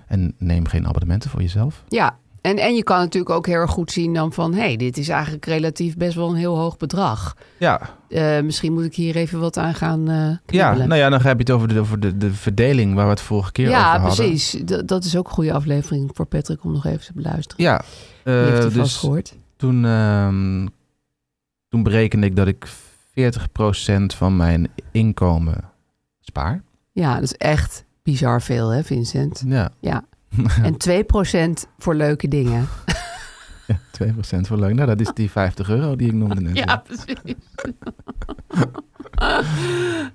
Speaker 3: en neem geen abonnementen voor jezelf.
Speaker 4: ja. En, en je kan natuurlijk ook heel erg goed zien dan van... hé, hey, dit is eigenlijk relatief best wel een heel hoog bedrag.
Speaker 3: Ja,
Speaker 4: Eh, misschien moet ik hier even wat aan gaan eh
Speaker 3: ja
Speaker 4: knibbelen.
Speaker 3: nou ja, dan heb je het over, de, over de, de verdeling waar we het vorige keer over
Speaker 4: Ja,
Speaker 3: hadden.
Speaker 4: precies. Dat- dat is ook een goede aflevering voor Patrick om nog even te beluisteren.
Speaker 3: Ja,
Speaker 4: Die heeft
Speaker 3: eh,
Speaker 4: hij vast
Speaker 3: dus
Speaker 4: gehoord.
Speaker 3: toen, ehm, toen berekende ik dat ik 40% van mijn inkomen spaar.
Speaker 4: Ja, dat is echt bizar veel, hè, Vincent?
Speaker 3: Ja,
Speaker 4: Ja. En 2% voor leuke dingen.
Speaker 3: ja 2% voor leuk. Nou, dat is die 50 euro die ik noemde net. Dus
Speaker 4: Ja, precies.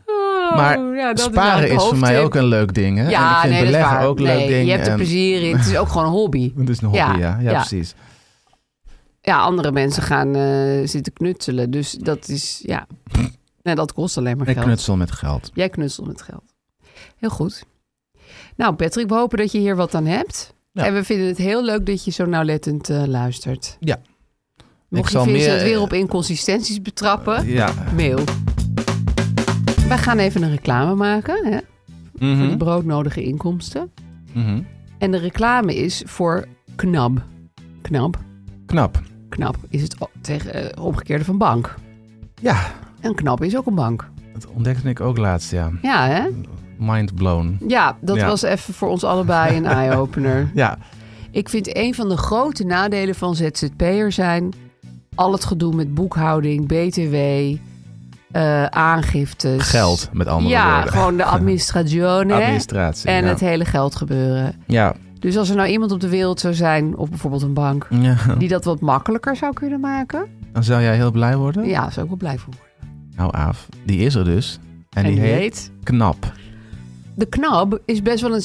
Speaker 4: Oh,
Speaker 3: Maar
Speaker 4: ja, dat
Speaker 3: Sparen
Speaker 4: eigenlijk
Speaker 3: is voor mij
Speaker 4: hoofdtip.
Speaker 3: ook een leuk ding. Hè? en ik
Speaker 4: Ja,
Speaker 3: vind
Speaker 4: nee, dat is
Speaker 3: beleggen
Speaker 4: waar.
Speaker 3: ook een leuk
Speaker 4: Nee,
Speaker 3: ding.
Speaker 4: Je hebt er
Speaker 3: en-
Speaker 4: plezier in. Het is ook gewoon een hobby.
Speaker 3: Het is een hobby,
Speaker 4: Ja,
Speaker 3: ja. Ja,
Speaker 4: ja.
Speaker 3: precies.
Speaker 4: Ja, andere mensen gaan eh, zitten knutselen. Dus dat is, ja. Nee, dat kost alleen maar
Speaker 3: Ik
Speaker 4: geld.
Speaker 3: knutsel met geld.
Speaker 4: Jij knutselt met geld. Heel goed. Nou, Patrick, we hopen dat je hier wat aan hebt.
Speaker 3: Ja.
Speaker 4: En we vinden het heel leuk dat je zo nauwlettend eh, luistert.
Speaker 3: Ja.
Speaker 4: Mocht
Speaker 3: Ik
Speaker 4: je
Speaker 3: zal
Speaker 4: Vincent
Speaker 3: meer- eh,
Speaker 4: weer op inconsistenties betrappen,
Speaker 3: Ja.
Speaker 4: mail. Wij gaan even een reclame maken hè, voor die broodnodige inkomsten.
Speaker 3: Mhm.
Speaker 4: En de reclame is voor KNAB. KNAB.
Speaker 3: Knap.
Speaker 4: KNAB is het o- tegen, eh, omgekeerde van bank.
Speaker 3: Ja,
Speaker 4: En KNAB is ook een bank.
Speaker 3: dat ontdekte ik ook laatst, ja.
Speaker 4: Ja, hè?
Speaker 3: Mind blown.
Speaker 4: Ja, dat
Speaker 3: Ja.
Speaker 4: was even voor ons allebei een eye-opener.
Speaker 3: Ja,
Speaker 4: Ik vind een van de grote nadelen van ZZP'er zijn... al het gedoe met boekhouding, btw, eh, aangiftes.
Speaker 3: geld met andere
Speaker 4: ja,
Speaker 3: woorden.
Speaker 4: gewoon de administratione
Speaker 3: Administratie.
Speaker 4: en
Speaker 3: ja.
Speaker 4: het hele geld gebeuren.
Speaker 3: Ja.
Speaker 4: Dus als er nou iemand op de wereld zou zijn, of bijvoorbeeld een bank...
Speaker 3: ja.
Speaker 4: die dat wat makkelijker zou kunnen maken...
Speaker 3: Dan zou jij heel blij worden?
Speaker 4: ja, zou ik wel blij voor worden.
Speaker 3: Nou, Aaf, die is er dus. En, die, heet, Knap.
Speaker 4: De KNAB is best wel een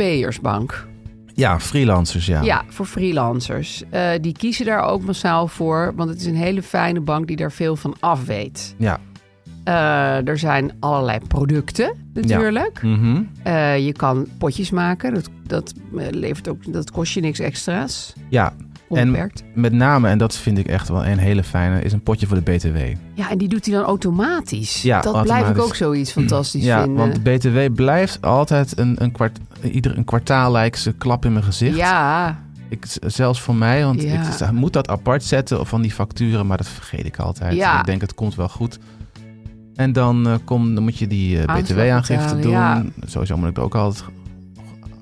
Speaker 4: ZZP'ersbank.
Speaker 3: Ja, freelancers, ja.
Speaker 4: Ja, voor freelancers. Eh, die kiezen daar ook massaal voor, want het is een hele fijne bank die daar veel van af weet.
Speaker 3: Ja.
Speaker 4: Eh, er zijn allerlei producten natuurlijk.
Speaker 3: Mhm.
Speaker 4: Eh, je kan potjes maken, dat, dat, eh, levert ook, dat kost je niks extra's.
Speaker 3: ja.
Speaker 4: Onbeperkt.
Speaker 3: Met name, en dat vind ik echt wel een hele fijne, is een potje voor de BTW.
Speaker 4: Ja, en die doet hij dan automatisch.
Speaker 3: Ja,
Speaker 4: dat blijf ik
Speaker 3: automatisch.
Speaker 4: ook zoiets fantastisch
Speaker 3: ja,
Speaker 4: vinden.
Speaker 3: want de BTW blijft altijd een, een, kwart, ieder, een kwartaal lijkt ze klap in mijn gezicht.
Speaker 4: Ja,
Speaker 3: Ik, zelfs voor mij, want
Speaker 4: Ja.
Speaker 3: ik sta- moet dat apart zetten van die facturen, maar dat vergeet ik altijd.
Speaker 4: Ja.
Speaker 3: Ik denk, het komt wel goed. En dan, eh, kom, dan moet je die
Speaker 4: Aanslag
Speaker 3: btw-aangifte
Speaker 4: betalen,
Speaker 3: doen.
Speaker 4: ja.
Speaker 3: Sowieso moet ik er ook altijd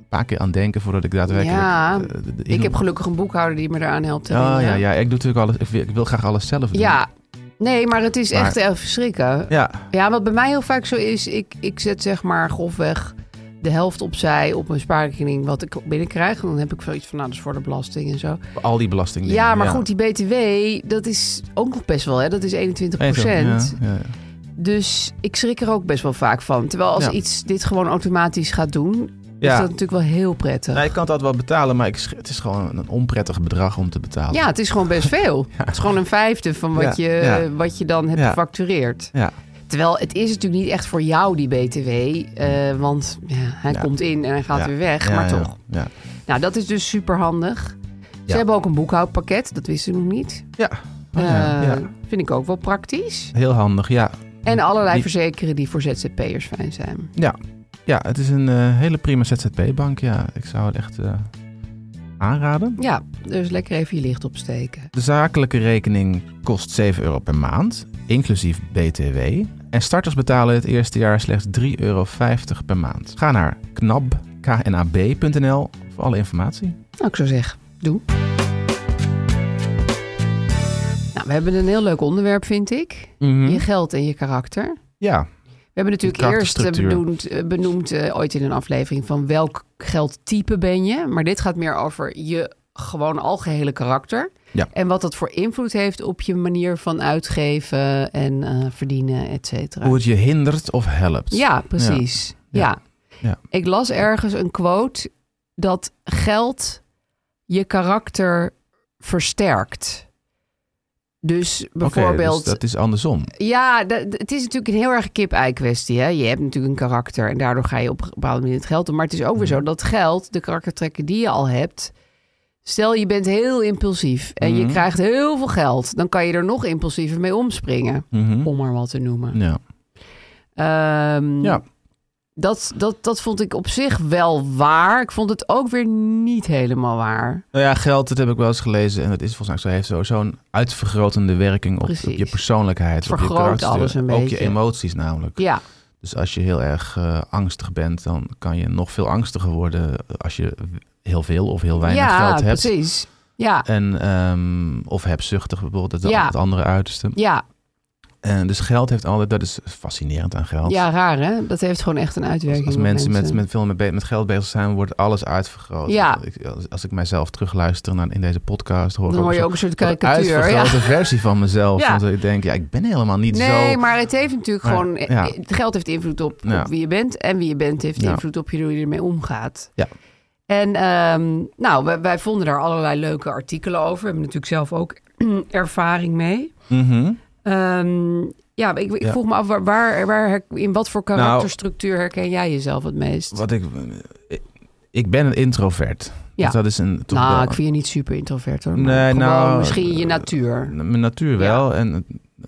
Speaker 3: een paar keer aan denken voordat ik daadwerkelijk...
Speaker 4: Ja.
Speaker 3: eh, de- de-
Speaker 4: ik heb gelukkig een boekhouder die me eraan helpt.
Speaker 3: Ja, Oh, ja,
Speaker 4: herinneren.
Speaker 3: ja, ik doe natuurlijk alles. Ik wil, ik wil graag alles zelf doen.
Speaker 4: Ja, nee, maar het is
Speaker 3: Maar-
Speaker 4: echt eh, even schrikken.
Speaker 3: Ja,
Speaker 4: Ja, wat bij mij heel vaak zo is, ik, ik zet zeg maar grofweg de helft opzij op mijn spaarrekening wat ik binnenkrijg. En dan heb ik zoiets van, nou, dat is voor de belasting en zo.
Speaker 3: al die belastingdingen.
Speaker 4: Ja, maar goed, die BTW, dat is ook nog best wel, hè? Dat is 21
Speaker 3: Ja,
Speaker 4: procent.
Speaker 3: ja, ja.
Speaker 4: Dus ik schrik er ook best wel vaak van. Terwijl als
Speaker 3: Ja.
Speaker 4: iets dit gewoon automatisch gaat doen, is
Speaker 3: Ja.
Speaker 4: dat natuurlijk wel heel prettig.
Speaker 3: Nou, ik kan dat wel betalen, maar ik, sch- het is gewoon een onprettig bedrag om te betalen.
Speaker 4: Ja, het is gewoon best veel. Het is gewoon een vijfde van wat,
Speaker 3: Ja,
Speaker 4: je,
Speaker 3: ja.
Speaker 4: wat je dan hebt
Speaker 3: Ja.
Speaker 4: gefactureerd.
Speaker 3: Ja.
Speaker 4: Terwijl het is natuurlijk niet echt voor jou die BTW. eh, want ja, hij
Speaker 3: Ja.
Speaker 4: komt in en hij gaat
Speaker 3: Ja.
Speaker 4: weer weg.
Speaker 3: Ja,
Speaker 4: maar
Speaker 3: ja,
Speaker 4: toch.
Speaker 3: Ja.
Speaker 4: Nou, dat is dus super handig. Ze
Speaker 3: Ja.
Speaker 4: hebben ook een boekhoudpakket. Dat wist ik nog niet.
Speaker 3: Ja. Oh, ja,
Speaker 4: Eh,
Speaker 3: ja.
Speaker 4: Vind ik ook wel praktisch.
Speaker 3: Heel handig, ja.
Speaker 4: En allerlei
Speaker 3: Die-
Speaker 4: verzekeren die voor ZZP'ers fijn zijn.
Speaker 3: Ja, ja het is een eh, hele prima ZZP-bank. Ja, ik zou het echt eh, aanraden.
Speaker 4: Ja, dus lekker even je licht opsteken.
Speaker 3: De zakelijke rekening kost 7 euro per maand, inclusief BTW. En starters betalen het eerste jaar slechts 3,50 euro per maand. Ga naar knab, knab.nl voor alle informatie.
Speaker 4: Nou, ik zou zeggen, doe. Nou, we hebben een heel leuk onderwerp, vind ik.
Speaker 3: Hm?
Speaker 4: Je geld en je karakter.
Speaker 3: Ja,
Speaker 4: We hebben natuurlijk eerst eh,
Speaker 3: Karakterstructuur.
Speaker 4: benoemd, eh, benoemd eh, ooit in een aflevering van welk geldtype ben je. Maar dit gaat meer over je gewoon algehele karakter.
Speaker 3: Ja.
Speaker 4: En wat dat voor invloed heeft op je manier van uitgeven en eh, verdienen, et cetera.
Speaker 3: Hoe het je hindert of helpt.
Speaker 4: Ja, precies. Ja.
Speaker 3: Ja. Ja.
Speaker 4: Ik las ergens een quote dat geld je karakter versterkt. Dus
Speaker 3: Oké, dus
Speaker 4: bijvoorbeeld.
Speaker 3: dat is andersom.
Speaker 4: Ja, dat- het is natuurlijk een heel erg kip-ei kwestie. Hè? Je hebt natuurlijk een karakter en daardoor ga je op een bepaalde manier het geld om. Maar het is ook weer zo
Speaker 3: Mhm.
Speaker 4: dat geld, de karaktertrekken die je al hebt. Stel je bent heel impulsief en
Speaker 3: Mhm.
Speaker 4: je krijgt heel veel geld. Dan kan je er nog impulsiever mee omspringen.
Speaker 3: Mhm.
Speaker 4: Om maar wat te noemen.
Speaker 3: Ja.
Speaker 4: Ehm,
Speaker 3: ja.
Speaker 4: dat, dat, dat vond ik op zich wel waar. Ik vond het ook weer niet helemaal waar.
Speaker 3: Nou ja, geld, dat heb ik wel eens gelezen. En dat is volgens mij zo. Heeft zo- zo'n uitvergrotende werking op,
Speaker 4: Precies.
Speaker 3: op je persoonlijkheid.
Speaker 4: Het
Speaker 3: op je
Speaker 4: vergroot
Speaker 3: karakter,
Speaker 4: alles een
Speaker 3: Ook
Speaker 4: beetje.
Speaker 3: je emoties namelijk.
Speaker 4: Ja,
Speaker 3: Dus als je heel erg eh, angstig bent, dan kan je nog veel angstiger worden als je heel veel of heel weinig
Speaker 4: ja
Speaker 3: geld hebt.
Speaker 4: precies. Ja,
Speaker 3: En, ehm, of hebzuchtig bijvoorbeeld, dat is
Speaker 4: Ja.
Speaker 3: het andere uiterste.
Speaker 4: ja,
Speaker 3: En dus geld heeft altijd, dat is fascinerend aan geld.
Speaker 4: ja, raar hè? Dat heeft gewoon echt een
Speaker 3: Als,
Speaker 4: uitwerking.
Speaker 3: als
Speaker 4: op
Speaker 3: mensen met, met veel met, be- met geld bezig zijn, wordt alles uitvergroot.
Speaker 4: Ja.
Speaker 3: Ik- als, als ik mijzelf terugluister naar, in deze podcast, hoor ik
Speaker 4: Dan hoor je
Speaker 3: zo'n-
Speaker 4: ook een soort
Speaker 3: zo'n
Speaker 4: karikatuur. Ja.
Speaker 3: uitvergrote versie van mezelf.
Speaker 4: Ja.
Speaker 3: Want ik denk, ja, ik ben helemaal niet
Speaker 4: Nee,
Speaker 3: zo...
Speaker 4: maar het heeft natuurlijk
Speaker 3: Maar,
Speaker 4: gewoon.
Speaker 3: ja.
Speaker 4: Het geld heeft invloed op,
Speaker 3: Ja.
Speaker 4: op wie je bent. En wie je bent heeft
Speaker 3: Ja.
Speaker 4: invloed op je, hoe je ermee omgaat.
Speaker 3: Ja.
Speaker 4: En ehm, nou, wij, wij vonden daar allerlei leuke artikelen over. We hebben natuurlijk zelf ook ervaring mee.
Speaker 3: Mhm.
Speaker 4: Ehm, ja, ik, ik
Speaker 3: Ja.
Speaker 4: vroeg me af, waar, waar, waar her- in wat voor
Speaker 3: Nou,
Speaker 4: karakterstructuur herken jij jezelf het meest?
Speaker 3: Wat ik, ik ben een introvert.
Speaker 4: Ja.
Speaker 3: Dus dat is een, toch
Speaker 4: nou,
Speaker 3: wel-
Speaker 4: ik vind je niet super introvert hoor.
Speaker 3: Nee,
Speaker 4: Nee,
Speaker 3: nou,
Speaker 4: nou, misschien je natuur.
Speaker 3: Mijn natuur wel. En eh,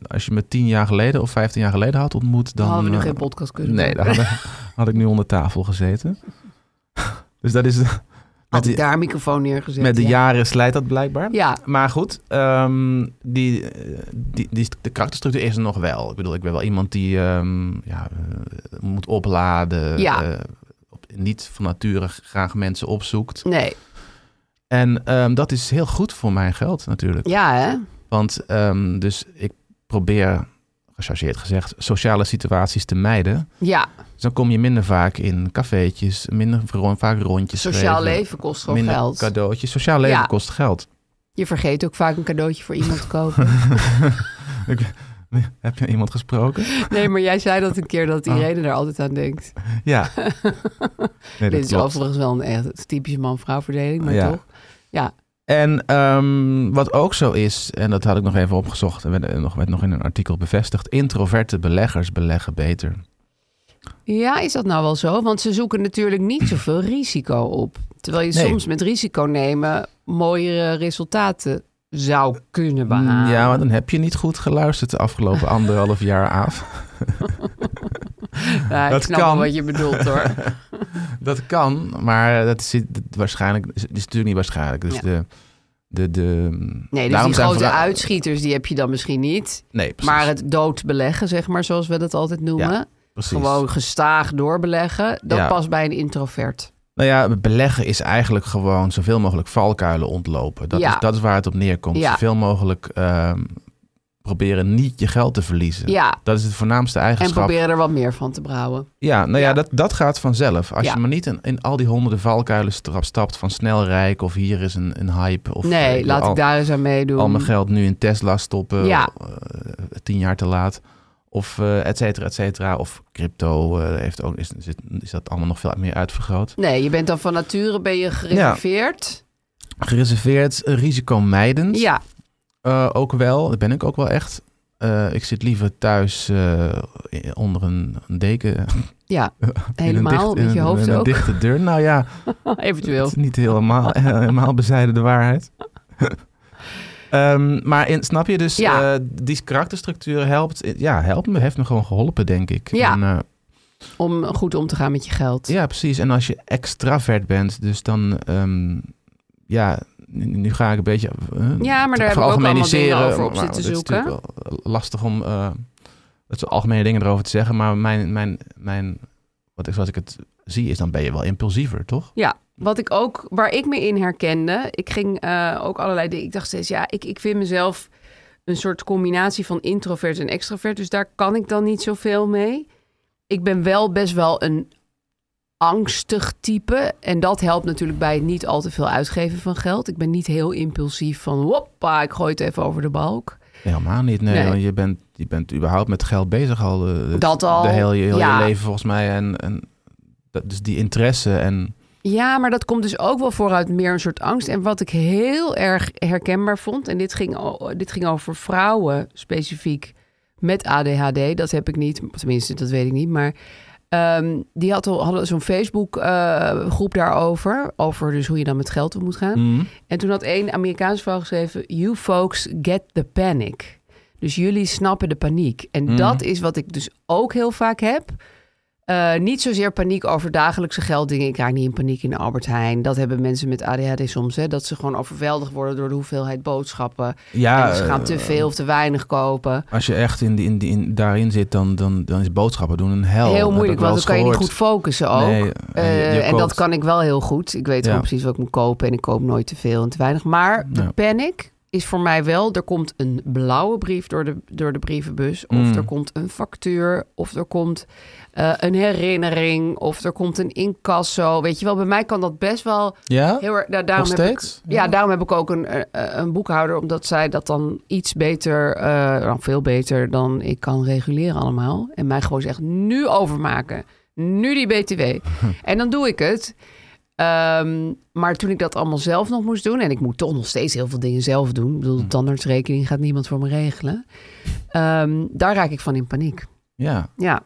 Speaker 3: als je me tien jaar geleden of vijftien jaar geleden had ontmoet, dan...
Speaker 4: Dan hadden we nu
Speaker 3: eh,
Speaker 4: geen podcast kunnen
Speaker 3: Nee,
Speaker 4: doen.
Speaker 3: dan had, had ik nu onder tafel gezeten. dus dat is...
Speaker 4: Had
Speaker 3: Met,
Speaker 4: ik
Speaker 3: de-
Speaker 4: daar een microfoon neergezet.
Speaker 3: met de
Speaker 4: ja.
Speaker 3: jaren slijt dat blijkbaar.
Speaker 4: Ja,
Speaker 3: Maar goed, ehm, die, eh, die, die, de karakterstructuur is er nog wel. Ik bedoel, ik ben wel iemand die ehm, ja, eh, moet opladen.
Speaker 4: Ja.
Speaker 3: eh, op- niet van nature graag mensen opzoekt.
Speaker 4: nee.
Speaker 3: En ehm, dat is heel goed voor mijn geld natuurlijk.
Speaker 4: Ja, hè?
Speaker 3: Want ehm, dus ik probeer, gechargeerd gezegd, sociale situaties te mijden.
Speaker 4: Ja,
Speaker 3: Dus dan kom je minder vaak in cafeetjes, minder ro- vaak rondjes
Speaker 4: sociaal
Speaker 3: geven,
Speaker 4: leven kost gewoon
Speaker 3: minder
Speaker 4: geld.
Speaker 3: cadeautjes. Sociaal leven
Speaker 4: Ja.
Speaker 3: kost geld.
Speaker 4: Je vergeet ook vaak een cadeautje voor iemand te kopen.
Speaker 3: Ik- heb je iemand gesproken?
Speaker 4: nee, maar jij zei dat een keer dat iedereen daar altijd aan denkt.
Speaker 3: Ja. Nee, dat
Speaker 4: Dit is
Speaker 3: klopt.
Speaker 4: overigens wel een echt typische man-vrouw verdeling, maar
Speaker 3: Ja.
Speaker 4: toch? Ja,
Speaker 3: En ehm, wat ook zo is, en dat had ik nog even opgezocht en werd, eh, nog, werd nog in een artikel bevestigd: introverte beleggers beleggen beter.
Speaker 4: Ja, is dat nou wel zo? Want ze zoeken natuurlijk niet zoveel risico op. Terwijl je
Speaker 3: Nee.
Speaker 4: soms met risico nemen mooiere resultaten zou kunnen behalen.
Speaker 3: Ja, maar dan heb je niet goed geluisterd de afgelopen anderhalf jaar af.
Speaker 4: Ja, ik
Speaker 3: dat
Speaker 4: snap
Speaker 3: kan.
Speaker 4: wel wat je bedoelt hoor.
Speaker 3: Dat kan, maar dat zit dat waarschijnlijk, is, is natuurlijk niet waarschijnlijk. Dus
Speaker 4: Ja.
Speaker 3: de, de, de.
Speaker 4: Nee, dus
Speaker 3: daarom
Speaker 4: die
Speaker 3: zijn
Speaker 4: grote
Speaker 3: verra-
Speaker 4: uitschieters die heb je dan misschien niet.
Speaker 3: Nee, precies.
Speaker 4: Maar het doodbeleggen, zeg maar, zoals we dat altijd noemen.
Speaker 3: Ja, precies.
Speaker 4: Gewoon gestaag doorbeleggen. Dat
Speaker 3: Ja.
Speaker 4: past bij een introvert.
Speaker 3: Nou ja, beleggen is eigenlijk gewoon zoveel mogelijk valkuilen ontlopen. Dat,
Speaker 4: Ja.
Speaker 3: is, dat is waar het op neerkomt.
Speaker 4: Ja.
Speaker 3: Zoveel mogelijk ehm, proberen niet je geld te verliezen.
Speaker 4: Ja.
Speaker 3: Dat is de voornaamste
Speaker 4: En
Speaker 3: eigenschap.
Speaker 4: proberen er wat meer van te brouwen.
Speaker 3: Ja, nou ja,
Speaker 4: Ja.
Speaker 3: Dat, dat gaat vanzelf. Als
Speaker 4: Ja.
Speaker 3: je maar niet in, in al die honderden valkuilen stra- stapt van snel rijk of hier is een, een hype. Of, eh,
Speaker 4: Nee,
Speaker 3: wil
Speaker 4: laat
Speaker 3: al-
Speaker 4: ik daar eens aan meedoen.
Speaker 3: al mijn geld nu in Tesla stoppen.
Speaker 4: Ja.
Speaker 3: eh, tien jaar te laat. Of eh et cetera, et cetera. Of crypto eh, heeft ook, is, is, is dat allemaal nog veel meer uitvergroot.
Speaker 4: Nee, je bent dan van nature ben je gereserveerd.
Speaker 3: Gereserveerd, eh, risicomijdend.
Speaker 4: Ja,
Speaker 3: Eh, ook wel, dat ben ik ook wel echt. Eh, ik zit liever thuis eh, onder een een deken.
Speaker 4: ja.
Speaker 3: in een
Speaker 4: helemaal.
Speaker 3: dicht- in
Speaker 4: met je
Speaker 3: een-
Speaker 4: hoofd
Speaker 3: in een
Speaker 4: ook.
Speaker 3: dichte deur. Nou ja, het
Speaker 4: Eventueel.
Speaker 3: is niet helemaal, helemaal bezijden de waarheid. Ehm, maar in, snap je, dus
Speaker 4: Ja.
Speaker 3: eh, die karakterstructuur helpt, eh, ja, helpt me, heeft me gewoon geholpen, denk ik.
Speaker 4: Ja.
Speaker 3: En, eh,
Speaker 4: Om goed om te gaan met je geld.
Speaker 3: ja, precies. En als je extravert bent, dus dan, ehm, ja, nu, nu ga ik een beetje eh,
Speaker 4: Ja, maar daar
Speaker 3: te
Speaker 4: hebben we ook
Speaker 3: veralgemeniseren,
Speaker 4: allemaal dingen over op
Speaker 3: maar
Speaker 4: zitten
Speaker 3: het is
Speaker 4: zoeken.
Speaker 3: natuurlijk wel, eh, lastig om eh het soort algemene dingen erover te zeggen, maar mijn, mijn, mijn, wat ik, zoals ik het zie, is dan ben je wel impulsiever, toch?
Speaker 4: Ja, wat ik ook, waar ik me in herkende, ik ging eh, ook allerlei dingen. Ik dacht steeds, ja, ik, ik vind mezelf een soort combinatie van introvert en extrovert. Dus daar kan ik dan niet zoveel mee. Ik ben wel best wel een angstig type. En dat helpt natuurlijk bij het niet al te veel uitgeven van geld. Ik ben niet heel impulsief van hoppa, ik gooi het even over de balk.
Speaker 3: Helemaal niet, nee.
Speaker 4: Nee.
Speaker 3: want Je, bent, je bent überhaupt met geld bezig al. eh, het-
Speaker 4: Dat al,
Speaker 3: De heel, je- heel
Speaker 4: ja.
Speaker 3: je leven volgens mij. En, en dat, dus die interesse en...
Speaker 4: Ja, maar dat komt dus ook wel vooruit meer een soort angst. En wat ik heel erg herkenbaar vond, en dit ging, o- dit ging over vrouwen specifiek met ADHD, dat heb ik niet, tenminste dat weet ik niet, maar ehm, die had al, hadden zo'n Facebook eh, groep daarover, over dus hoe je dan met geld om moet gaan. En toen had één Amerikaanse vrouw geschreven, you folks get the panic. Dus jullie snappen de paniek. En dat is wat ik dus ook heel vaak heb. Eh, niet zozeer paniek over dagelijkse gelddingen. Ik raak niet in paniek in de Albert Heijn. Dat hebben mensen met ADHD soms. Hè? Dat ze gewoon overweldigd worden door de hoeveelheid boodschappen.
Speaker 3: Ja,
Speaker 4: en ze gaan te
Speaker 3: eh,
Speaker 4: veel of te weinig kopen.
Speaker 3: Als je echt in, die- in, die- in, daarin zit, dan, dan, dan is boodschappen doen een hel. Dat heb
Speaker 4: heel
Speaker 3: ik
Speaker 4: moeilijk,
Speaker 3: wel
Speaker 4: want dan
Speaker 3: eens
Speaker 4: kan je niet goed
Speaker 3: gehoord.
Speaker 4: focussen ook.
Speaker 3: Nee, en je-
Speaker 4: Eh,
Speaker 3: je
Speaker 4: en
Speaker 3: koopt-
Speaker 4: dat kan ik wel heel goed. Ik weet
Speaker 3: Ja.
Speaker 4: gewoon precies wat ik moet kopen en ik koop nooit te veel en te weinig. Maar de
Speaker 3: Ja.
Speaker 4: panic is voor mij wel, er komt een blauwe brief door de, door de brievenbus. Of
Speaker 3: Mm.
Speaker 4: er komt een factuur, of er komt eh, een herinnering, of er komt een incasso. Weet je wel, bij mij kan dat best wel
Speaker 3: Ja?
Speaker 4: heel erg... nou, daarom
Speaker 3: Nog
Speaker 4: heb
Speaker 3: steeds?
Speaker 4: Ik, ja, daarom heb ik ook een, eh, eh, een boekhouder, omdat zij dat dan iets beter, eh, nou, veel beter dan ik kan reguleren allemaal. En mij gewoon zegt, nu overmaken. Nu die BTW. en dan doe ik het. Ehm, maar toen ik dat allemaal zelf nog moest doen, en ik moet toch nog steeds heel veel dingen zelf doen. Ik bedoel,
Speaker 3: Hm.
Speaker 4: de tandartsrekening gaat niemand voor me regelen. Ehm, daar raak ik van in paniek.
Speaker 3: Ja,
Speaker 4: Ja,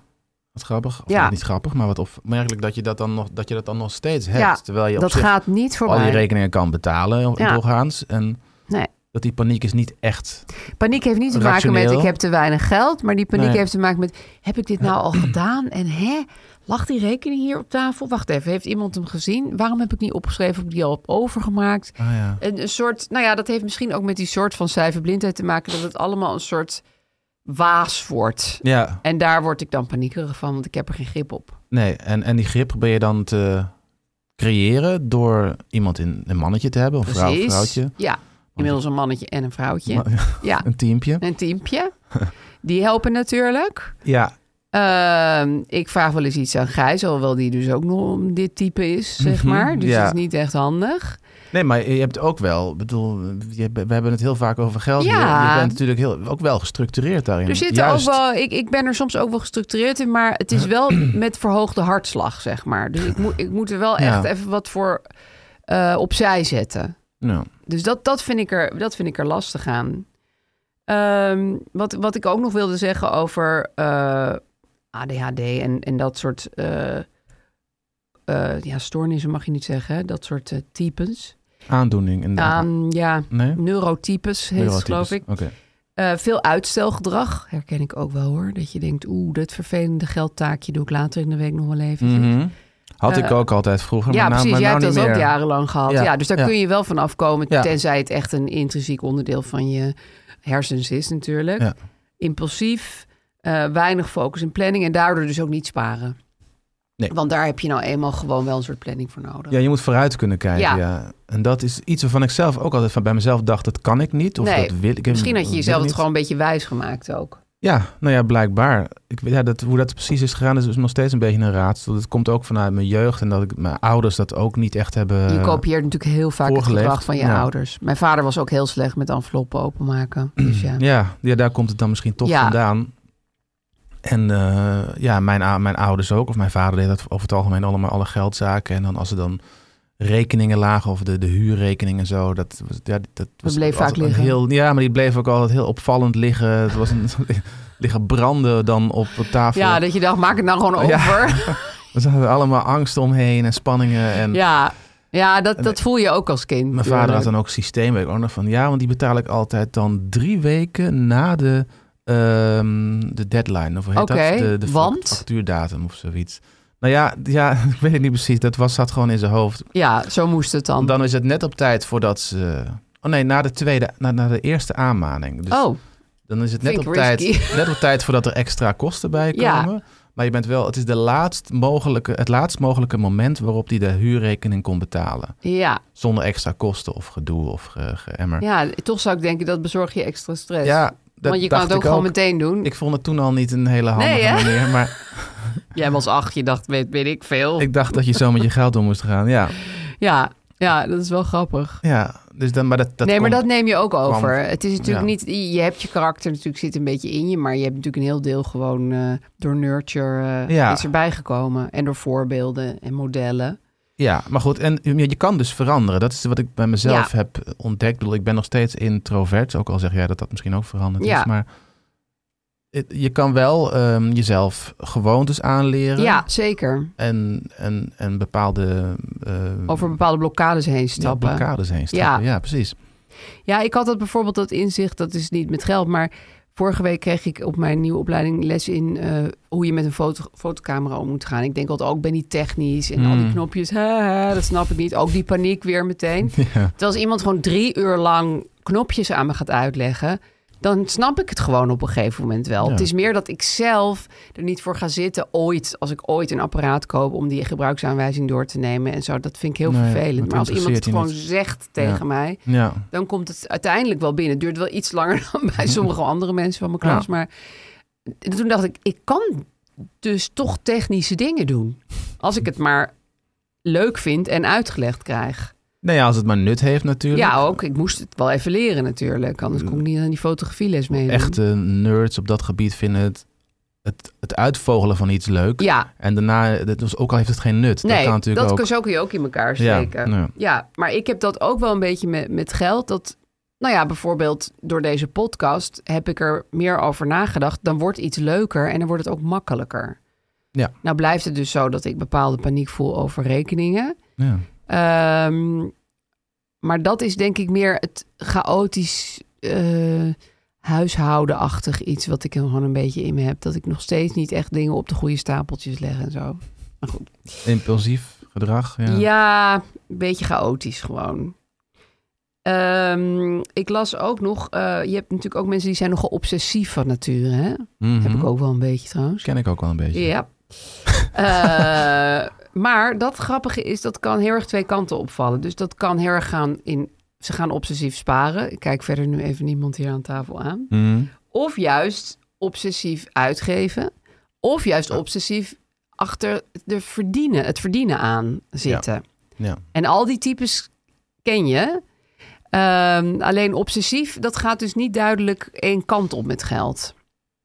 Speaker 3: wat grappig. Of
Speaker 4: Ja.
Speaker 3: ja. niet grappig, maar wat opmerkelijk dat je dat dan nog, dat je dat dan nog steeds hebt.
Speaker 4: Ja,
Speaker 3: terwijl je op
Speaker 4: dat
Speaker 3: zich
Speaker 4: gaat niet
Speaker 3: al die
Speaker 4: voorbij.
Speaker 3: rekeningen kan betalen
Speaker 4: Ja.
Speaker 3: doorgaans. En
Speaker 4: Nee.
Speaker 3: dat die paniek is niet echt.
Speaker 4: Paniek heeft niet te maken met
Speaker 3: Rationeel.
Speaker 4: ik heb te weinig geld, maar die paniek
Speaker 3: Nee.
Speaker 4: heeft te maken met heb ik dit nou al gedaan en hè lag die rekening hier op tafel? Wacht even, heeft iemand hem gezien? Waarom heb ik niet opgeschreven of ik die al heb overgemaakt?
Speaker 3: Ah ja.
Speaker 4: Een, een soort, nou ja, dat heeft misschien ook met die soort van cijferblindheid te maken dat het allemaal een soort waas wordt.
Speaker 3: Ja,
Speaker 4: En daar word ik dan paniekerig van, want ik heb er geen grip op.
Speaker 3: nee. En, en die grip probeer je dan te creëren door iemand in een mannetje te hebben. Of een vrouw, vrouwtje.
Speaker 4: Ja, inmiddels een mannetje en een vrouwtje. Ja,
Speaker 3: Een teampje.
Speaker 4: een teampje. Die helpen natuurlijk.
Speaker 3: Ja.
Speaker 4: Ehm, ik vraag wel eens iets aan Gijs, alhoewel die dus ook nog om dit type is, zeg maar. Dus
Speaker 3: Mhm, ja.
Speaker 4: dat is niet echt handig.
Speaker 3: Nee, maar je hebt ook wel, ik bedoel, je, we hebben het heel vaak over geld.
Speaker 4: Ja.
Speaker 3: hier. Je, bent natuurlijk heel, ook wel gestructureerd daarin.
Speaker 4: Er zitten
Speaker 3: Juist.
Speaker 4: ook wel, ik, ik ben er soms ook wel gestructureerd in, maar het is wel met verhoogde hartslag, zeg maar. Dus ik moet, ik moet er wel
Speaker 3: Ja.
Speaker 4: echt even wat voor eh, opzij zetten.
Speaker 3: Nou,
Speaker 4: Dus dat, dat, vind, ik er, dat vind ik er lastig aan. Ehm, wat, wat ik ook nog wilde zeggen over eh, ADHD en, en dat soort eh, eh, ja, stoornissen mag je niet zeggen. hè? Dat soort eh, types.
Speaker 3: aandoening. En
Speaker 4: Aan, ja,
Speaker 3: nee?
Speaker 4: neurotypes heet het,
Speaker 3: Neurotypes.
Speaker 4: geloof ik.
Speaker 3: Oké.
Speaker 4: Eh, veel uitstelgedrag herken ik ook wel hoor. Dat je denkt, oeh, dat vervelende geldtaakje doe ik later in de week nog wel even.
Speaker 3: Mhm. Had ik
Speaker 4: Eh,
Speaker 3: ook altijd vroeger,
Speaker 4: Ja,
Speaker 3: maar nou,
Speaker 4: precies. Jij
Speaker 3: maar
Speaker 4: hebt
Speaker 3: nou
Speaker 4: dat
Speaker 3: niet
Speaker 4: ook
Speaker 3: meer.
Speaker 4: jarenlang gehad. Ja,
Speaker 3: Ja,
Speaker 4: dus daar
Speaker 3: ja.
Speaker 4: kun je wel van afkomen.
Speaker 3: Ja.
Speaker 4: Tenzij het echt een intrinsiek onderdeel van je hersens is natuurlijk.
Speaker 3: Ja.
Speaker 4: Impulsief, eh, weinig focus en planning. En daardoor dus ook niet sparen.
Speaker 3: Nee.
Speaker 4: Want daar heb je nou eenmaal gewoon wel een soort planning voor nodig.
Speaker 3: Ja, je moet vooruit kunnen kijken.
Speaker 4: Ja.
Speaker 3: Ja. En dat is iets waarvan ik zelf ook altijd van bij mezelf dacht, dat kan ik niet. Of
Speaker 4: Nee,
Speaker 3: dat wil ik.
Speaker 4: Misschien had
Speaker 3: dat
Speaker 4: je
Speaker 3: wil ik
Speaker 4: jezelf het
Speaker 3: niet.
Speaker 4: gewoon een beetje wijs gemaakt ook.
Speaker 3: Ja, nou ja, blijkbaar. Ik, weet- ja, dat, hoe dat precies is gegaan, is dus nog steeds een beetje een raadsel. Dat komt ook vanuit mijn jeugd en dat ik, mijn ouders dat ook niet echt hebben.
Speaker 4: Je kopieert natuurlijk heel vaak het
Speaker 3: Eh, voorgelegd.
Speaker 4: gedrag van je
Speaker 3: Ja.
Speaker 4: ouders. Mijn vader was ook heel slecht met enveloppen openmaken. Dus ja.
Speaker 3: Mm. Ja, ja, daar komt het dan misschien toch
Speaker 4: Ja.
Speaker 3: vandaan. En eh, ja, mijn, ou- mijn ouders ook, of mijn vader deed dat over het algemeen allemaal alle geldzaken. En dan als er dan rekeningen lagen of de, de huurrekening en zo, dat was, ja, dat was
Speaker 4: bleef vaak
Speaker 3: altijd een
Speaker 4: liggen.
Speaker 3: Heel, ja, maar die bleef ook altijd heel opvallend liggen. Het was een, liggen branden dan op de tafel.
Speaker 4: ja, dat je dacht, maak het nou gewoon
Speaker 3: Ja.
Speaker 4: over.
Speaker 3: Er zaten allemaal angsten omheen en spanningen. En
Speaker 4: Ja, ja dat, dat voel je ook als kind.
Speaker 3: mijn vader had
Speaker 4: natuurlijk.
Speaker 3: dan ook systeemwerk. Ook nog van ja, want die betaal ik altijd dan drie weken na de, ehm, de deadline. Of hoe heet
Speaker 4: Oké,
Speaker 3: dat? De, de fac-
Speaker 4: want?
Speaker 3: factuurdatum of zoiets. Nou ja, ja, ik weet het niet precies. Dat was, zat gewoon in zijn hoofd.
Speaker 4: Ja, zo moest het dan.
Speaker 3: Want dan is het net op tijd voordat ze. Oh nee, na de tweede, na, na de eerste aanmaning. Dus
Speaker 4: oh,
Speaker 3: dan is het net
Speaker 4: vind
Speaker 3: op,
Speaker 4: ik
Speaker 3: tijd,
Speaker 4: risky.
Speaker 3: net op tijd voordat er extra kosten bij komen.
Speaker 4: Ja.
Speaker 3: Maar je bent wel, het is de laatst mogelijke, het laatst mogelijke moment waarop hij de huurrekening kon betalen.
Speaker 4: ja.
Speaker 3: Zonder extra kosten of gedoe of ge, geëmmer.
Speaker 4: ja, toch zou ik denken dat bezorg je extra stress.
Speaker 3: Ja, dat
Speaker 4: Eh, Want je kan
Speaker 3: dacht
Speaker 4: het ook
Speaker 3: ik
Speaker 4: gewoon meteen doen.
Speaker 3: Ik vond het toen al niet een hele handige
Speaker 4: Nee, hè?
Speaker 3: manier, maar
Speaker 4: Jij was acht, je dacht, weet, weet ik veel.
Speaker 3: Ik dacht dat je zo met je geld om moest gaan. Ja,
Speaker 4: Ja, ja, dat is wel grappig.
Speaker 3: ja. Dus dan, maar dat, dat
Speaker 4: nee, maar
Speaker 3: komt-
Speaker 4: dat neem je ook over.
Speaker 3: kwam-
Speaker 4: Het is natuurlijk
Speaker 3: ja.
Speaker 4: niet... Je hebt je karakter natuurlijk zit een beetje in je... maar je hebt natuurlijk een heel deel gewoon eh, door nurture eh,
Speaker 3: Ja.
Speaker 4: is erbij gekomen. En door voorbeelden en modellen.
Speaker 3: Ja, maar goed. En je je kan dus veranderen. Dat is wat ik bij mezelf
Speaker 4: Ja.
Speaker 3: heb ontdekt. Ik bedoel, ik ben nog steeds introvert. Ook al zeg jij dat dat misschien ook veranderd
Speaker 4: Ja.
Speaker 3: is. Maar het- je kan wel ehm, jezelf gewoontes aanleren.
Speaker 4: Ja, zeker.
Speaker 3: En, en, en bepaalde... eh,
Speaker 4: Over bepaalde blokkades heen
Speaker 3: ja,
Speaker 4: stappen.
Speaker 3: blokkades heen stappen. Ja, precies.
Speaker 4: Ja, ik had dat bijvoorbeeld dat inzicht, dat is niet met geld, maar vorige week kreeg ik op mijn nieuwe opleiding les in eh, hoe je met een foto, fotocamera om moet gaan. Ik denk altijd, ook ben niet technisch en al die
Speaker 3: Hmm.
Speaker 4: knopjes, ha, ha, dat snap ik niet. Ook die paniek weer meteen.
Speaker 3: Ja.
Speaker 4: Terwijl als iemand gewoon drie uur lang knopjes aan me gaat uitleggen, dan snap ik het gewoon op een gegeven moment wel.
Speaker 3: Ja.
Speaker 4: Het is meer dat ik zelf er niet voor ga zitten ooit, als ik ooit een apparaat koop, om die gebruiksaanwijzing door te nemen en zo. Dat vind ik heel
Speaker 3: Nee,
Speaker 4: vervelend.
Speaker 3: dat
Speaker 4: Maar als iemand het
Speaker 3: interesseert je
Speaker 4: gewoon zegt tegen
Speaker 3: Ja.
Speaker 4: mij,
Speaker 3: ja.
Speaker 4: dan komt het uiteindelijk wel binnen. Het duurt wel iets langer dan bij sommige andere mensen van mijn klas.
Speaker 3: Ja.
Speaker 4: Maar toen dacht ik, ik kan dus toch technische dingen doen. Als ik het maar leuk vind en uitgelegd krijg.
Speaker 3: Nou ja, als het maar nut heeft natuurlijk.
Speaker 4: Ja, ook. Ik moest het wel even leren natuurlijk. Anders kon ik niet aan die fotografieles meedoen.
Speaker 3: Echte nerds op dat gebied vinden het, het, het uitvogelen van iets leuk.
Speaker 4: Ja,
Speaker 3: En daarna, dat was, ook al heeft het geen nut.
Speaker 4: nee.
Speaker 3: dat kan natuurlijk ook.
Speaker 4: zo kun je ook in elkaar
Speaker 3: Ja,
Speaker 4: steken.
Speaker 3: ja.
Speaker 4: Ja, maar ik heb dat ook wel een beetje met, met geld. Dat, nou ja, bijvoorbeeld door deze podcast heb ik er meer over nagedacht. Dan wordt iets leuker en dan wordt het ook makkelijker.
Speaker 3: Ja.
Speaker 4: Nou blijft het dus zo dat ik bepaalde paniek voel over rekeningen.
Speaker 3: Ja.
Speaker 4: Ehm, maar dat is denk ik meer het chaotisch eh, huishoudenachtig iets wat ik gewoon een beetje in me heb. Dat ik nog steeds niet echt dingen op de goede stapeltjes leg en zo. Maar goed.
Speaker 3: Impulsief gedrag. Ja.
Speaker 4: Ja, een beetje chaotisch gewoon. Ehm, ik las ook nog, eh, je hebt natuurlijk ook mensen die zijn nogal obsessief van nature. Hè?
Speaker 3: Mhm.
Speaker 4: Heb ik ook wel een beetje trouwens.
Speaker 3: Ken ik ook wel een beetje.
Speaker 4: Ja. Eh, maar dat grappige is, dat kan heel erg twee kanten opvallen. Dus dat kan heel erg gaan in, ze gaan obsessief sparen. Ik kijk verder nu even niemand hier aan tafel aan.
Speaker 3: Mhm.
Speaker 4: Of juist obsessief uitgeven. Of juist obsessief achter de verdienen, het verdienen aan zitten.
Speaker 3: Ja.
Speaker 4: En al die types ken je. Ehm, alleen obsessief, dat gaat dus niet duidelijk één kant op met geld.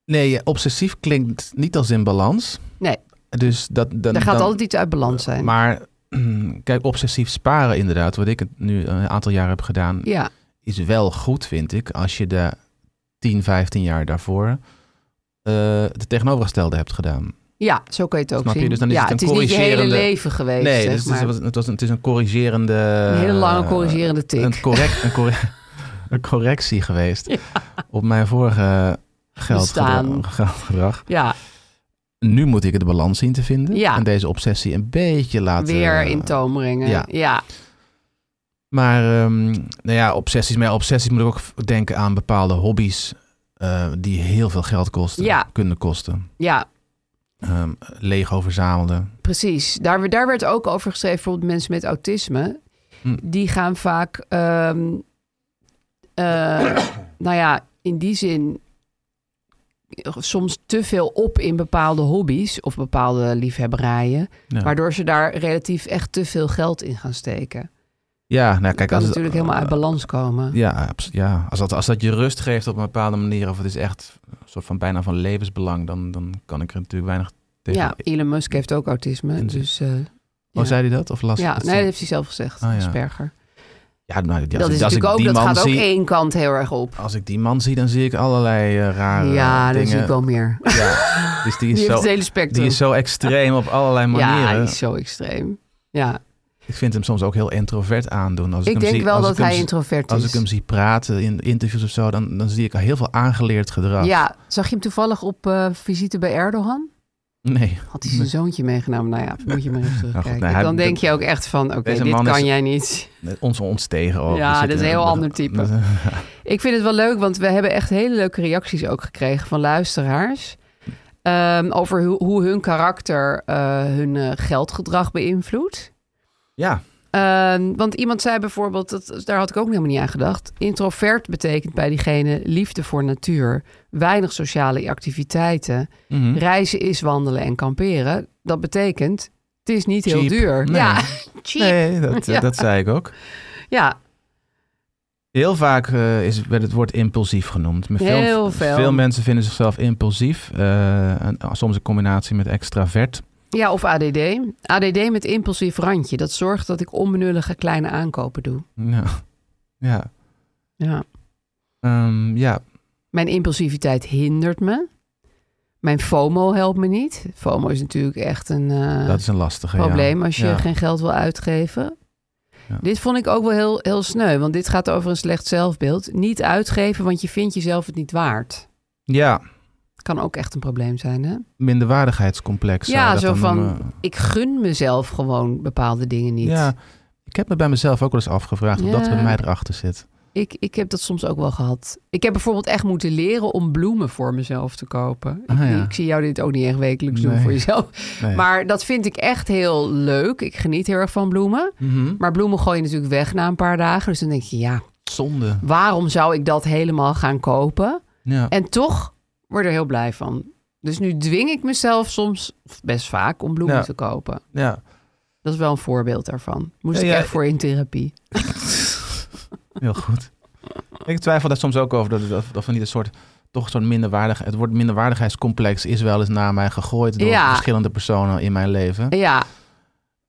Speaker 3: Nee, obsessief klinkt niet als in balans.
Speaker 4: Nee.
Speaker 3: Dus dat, dan,
Speaker 4: Daar gaat
Speaker 3: dan-
Speaker 4: altijd iets uit balans zijn.
Speaker 3: Maar kijk, obsessief sparen inderdaad, wat ik het nu een aantal jaar heb gedaan,
Speaker 4: ja,
Speaker 3: is wel goed, vind ik, als je de 10, 15 jaar daarvoor eh de tegenovergestelde hebt gedaan.
Speaker 4: ja, zo kan je het ook
Speaker 3: Snap je?
Speaker 4: zien.
Speaker 3: Dus dan is
Speaker 4: ja,
Speaker 3: het een
Speaker 4: is niet je hele
Speaker 3: corrigerende-
Speaker 4: leven geweest.
Speaker 3: nee,
Speaker 4: zeg
Speaker 3: dus het,
Speaker 4: maar.
Speaker 3: is, het, was een, het is een corrigerende...
Speaker 4: een hele lange
Speaker 3: eh,
Speaker 4: corrigerende tik.
Speaker 3: Een, correct, een, corre- een correctie geweest op mijn vorige
Speaker 4: Bestaan.
Speaker 3: geldgedrag, geldgedrag.
Speaker 4: ja,
Speaker 3: Nu moet ik de balans zien te vinden
Speaker 4: Ja.
Speaker 3: en deze obsessie een beetje laten...
Speaker 4: weer in toom brengen.
Speaker 3: eh, ja.
Speaker 4: ja,
Speaker 3: Maar ehm, nou ja, obsessies. Met obsessies moet ik ook v- denken aan bepaalde hobby's eh, die heel veel geld kosten,
Speaker 4: Ja.
Speaker 3: kunnen kosten.
Speaker 4: ja.
Speaker 3: Ehm Lego verzamelen.
Speaker 4: Precies. Daar, daar werd ook over geschreven, bijvoorbeeld mensen met autisme.
Speaker 3: Hm.
Speaker 4: Die gaan vaak, ehm, eh, nou ja, in die zin soms te veel op in bepaalde hobby's of bepaalde liefhebberijen.
Speaker 3: Ja,
Speaker 4: Waardoor ze daar relatief echt te veel geld in gaan steken.
Speaker 3: ja nou kijk, als
Speaker 4: kan
Speaker 3: het-
Speaker 4: natuurlijk helemaal uit balans komen.
Speaker 3: Ja, abs- ja. Als, dat, als dat je rust geeft op een bepaalde manier, of het is echt een soort van bijna van levensbelang, dan, dan kan ik er natuurlijk weinig tegen.
Speaker 4: Ja, Elon Musk heeft ook autisme.
Speaker 3: En-
Speaker 4: Dus eh,
Speaker 3: Oh,
Speaker 4: ja.
Speaker 3: zei hij dat? Of las
Speaker 4: ja,
Speaker 3: dat
Speaker 4: nee,
Speaker 3: ze-
Speaker 4: dat heeft hij zelf gezegd,
Speaker 3: Ah, ja.
Speaker 4: Asperger.
Speaker 3: ja, nou, die-
Speaker 4: Dat,
Speaker 3: als, ik-
Speaker 4: is
Speaker 3: als ik
Speaker 4: natuurlijk ook,
Speaker 3: die
Speaker 4: dat
Speaker 3: man
Speaker 4: gaat ook
Speaker 3: zie,
Speaker 4: één kant heel erg op.
Speaker 3: Als ik die man zie, dan zie ik allerlei eh, rare
Speaker 4: Ja,
Speaker 3: dingen.
Speaker 4: dat zie ik wel meer.
Speaker 3: Ja, dus die
Speaker 4: Die
Speaker 3: is,
Speaker 4: heeft
Speaker 3: zo,
Speaker 4: het hele spectrum.
Speaker 3: die is zo extreem op allerlei
Speaker 4: Ja,
Speaker 3: manieren.
Speaker 4: hij is zo extreem. Ja,
Speaker 3: Ik vind hem soms ook heel introvert aandoen. Als ik,
Speaker 4: ik,
Speaker 3: hem
Speaker 4: denk
Speaker 3: zie,
Speaker 4: wel
Speaker 3: als
Speaker 4: dat
Speaker 3: ik hem
Speaker 4: hij
Speaker 3: zie-
Speaker 4: introvert is.
Speaker 3: Als ik hem zie praten in interviews of zo, dan, dan zie ik al heel veel aangeleerd gedrag.
Speaker 4: Ja, zag je hem toevallig op eh, visite bij Erdogan?
Speaker 3: Nee.
Speaker 4: Had hij zijn zoontje meegenomen? Nou ja, moet je maar even terugkijken.
Speaker 3: nee, hij-
Speaker 4: Dan denk je ook echt van, oké,
Speaker 3: Deze
Speaker 4: dit
Speaker 3: man
Speaker 4: kan
Speaker 3: is-
Speaker 4: jij niet.
Speaker 3: Ons ontstegen ook. We
Speaker 4: Ja, dat is
Speaker 3: zitten-
Speaker 4: een heel ander type.
Speaker 3: dat-
Speaker 4: Ik vind het wel leuk, want we hebben echt hele leuke reacties ook gekregen van luisteraars. ehm, over hoe hoe hun karakter eh, hun eh, geldgedrag beïnvloedt.
Speaker 3: ja.
Speaker 4: Eh, Ehm, want iemand zei bijvoorbeeld, dat, daar had ik ook helemaal niet aan gedacht. Introvert betekent bij diegene liefde voor natuur, weinig sociale activiteiten.
Speaker 3: Mhm.
Speaker 4: Reizen is wandelen en kamperen. Dat betekent, het is niet heel
Speaker 3: Cheap.
Speaker 4: duur.
Speaker 3: Nee.
Speaker 4: Ja, cheap.
Speaker 3: Nee, dat,
Speaker 4: Ja.
Speaker 3: dat zei ik ook.
Speaker 4: Ja,
Speaker 3: Heel vaak eh, is, werd het woord impulsief genoemd. Maar
Speaker 4: Heel veel.
Speaker 3: mensen vinden zichzelf impulsief. eh, en soms in combinatie met extravert.
Speaker 4: Ja, of ADD. ADD met impulsief randje. Dat zorgt dat ik onbenullige kleine aankopen doe.
Speaker 3: Ja. Ja.
Speaker 4: Ja.
Speaker 3: Ehm, ja.
Speaker 4: Mijn impulsiviteit hindert me. Mijn FOMO helpt me niet. FOMO is natuurlijk echt een eh,
Speaker 3: dat is een lastige. ja.
Speaker 4: probleem als je
Speaker 3: Ja.
Speaker 4: geen geld wil uitgeven.
Speaker 3: Ja.
Speaker 4: Dit vond ik ook wel heel, heel sneu, want dit gaat over een slecht zelfbeeld. Niet uitgeven, want je vindt jezelf het niet waard.
Speaker 3: Ja,
Speaker 4: Kan ook echt een probleem zijn, hè?
Speaker 3: minderwaardigheidscomplex. zou je
Speaker 4: ja,
Speaker 3: dat
Speaker 4: zo
Speaker 3: dan
Speaker 4: van,
Speaker 3: noemen.
Speaker 4: ik gun mezelf gewoon bepaalde dingen niet.
Speaker 3: Ja, ik heb me bij mezelf ook wel eens afgevraagd of dat er
Speaker 4: Ja.
Speaker 3: bij mij erachter zit.
Speaker 4: Ik, ik heb dat soms ook wel gehad. Ik heb bijvoorbeeld echt moeten leren om bloemen voor mezelf te kopen. Ik-
Speaker 3: Ah, ja.
Speaker 4: ik, zie jou dit ook niet echt wekelijks doen
Speaker 3: Nee.
Speaker 4: voor jezelf.
Speaker 3: Nee.
Speaker 4: Maar dat vind ik echt heel leuk. Ik geniet heel erg van bloemen.
Speaker 3: Mhm.
Speaker 4: Maar bloemen gooi je natuurlijk weg na een paar dagen. Dus dan denk je, ja,
Speaker 3: Zonde.
Speaker 4: waarom zou ik dat helemaal gaan kopen?
Speaker 3: Ja.
Speaker 4: En toch word ik er heel blij van. Dus nu dwing ik mezelf soms, of best vaak, om bloemen
Speaker 3: Ja.
Speaker 4: te kopen.
Speaker 3: ja.
Speaker 4: Dat is wel een voorbeeld daarvan. Moest
Speaker 3: Ja,
Speaker 4: ik
Speaker 3: ja.
Speaker 4: echt voor in therapie.
Speaker 3: Heel goed. Ik twijfel daar soms ook over dat, dat, dat van niet een soort toch zo'n minderwaardig het woord minderwaardigheidscomplex is wel eens naar mij gegooid door
Speaker 4: Ja.
Speaker 3: verschillende personen in mijn leven,
Speaker 4: Ja,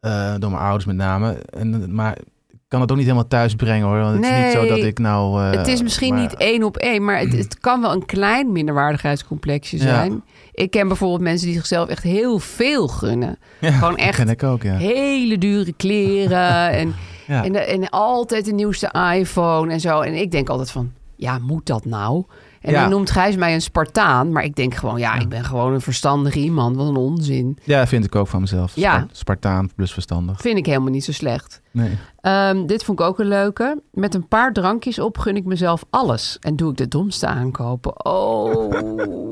Speaker 3: Eh, door mijn ouders met name. En, eh, maar ik kan het ook niet helemaal thuis brengen hoor. Want het is niet zo
Speaker 4: Nee.
Speaker 3: dat ik nou. eh,
Speaker 4: Het is misschien
Speaker 3: maar-
Speaker 4: niet e- één op één, maar het, het kan wel een klein minderwaardigheidscomplexje
Speaker 3: Ja.
Speaker 4: zijn. Ik ken bijvoorbeeld mensen die zichzelf echt heel veel gunnen.
Speaker 3: Ja,
Speaker 4: gewoon
Speaker 3: dat
Speaker 4: echt
Speaker 3: Ken ik ook ja.
Speaker 4: Hele dure kleren en,
Speaker 3: Ja.
Speaker 4: en, en altijd de nieuwste iPhone en zo. En ik denk altijd van, ja, moet dat nou? En
Speaker 3: Ja.
Speaker 4: dan noemt Gijs mij een Spartaan, maar ik denk gewoon, ja, ik ben gewoon een verstandig iemand. Wat een onzin.
Speaker 3: ja, vind ik ook van mezelf.
Speaker 4: Ja.
Speaker 3: Spar- Spartaan plus verstandig.
Speaker 4: Vind ik helemaal niet zo slecht.
Speaker 3: Nee.
Speaker 4: Ehm, dit vond ik ook een leuke. Met een paar drankjes op gun ik mezelf alles. En doe ik de domste aankopen. Oh.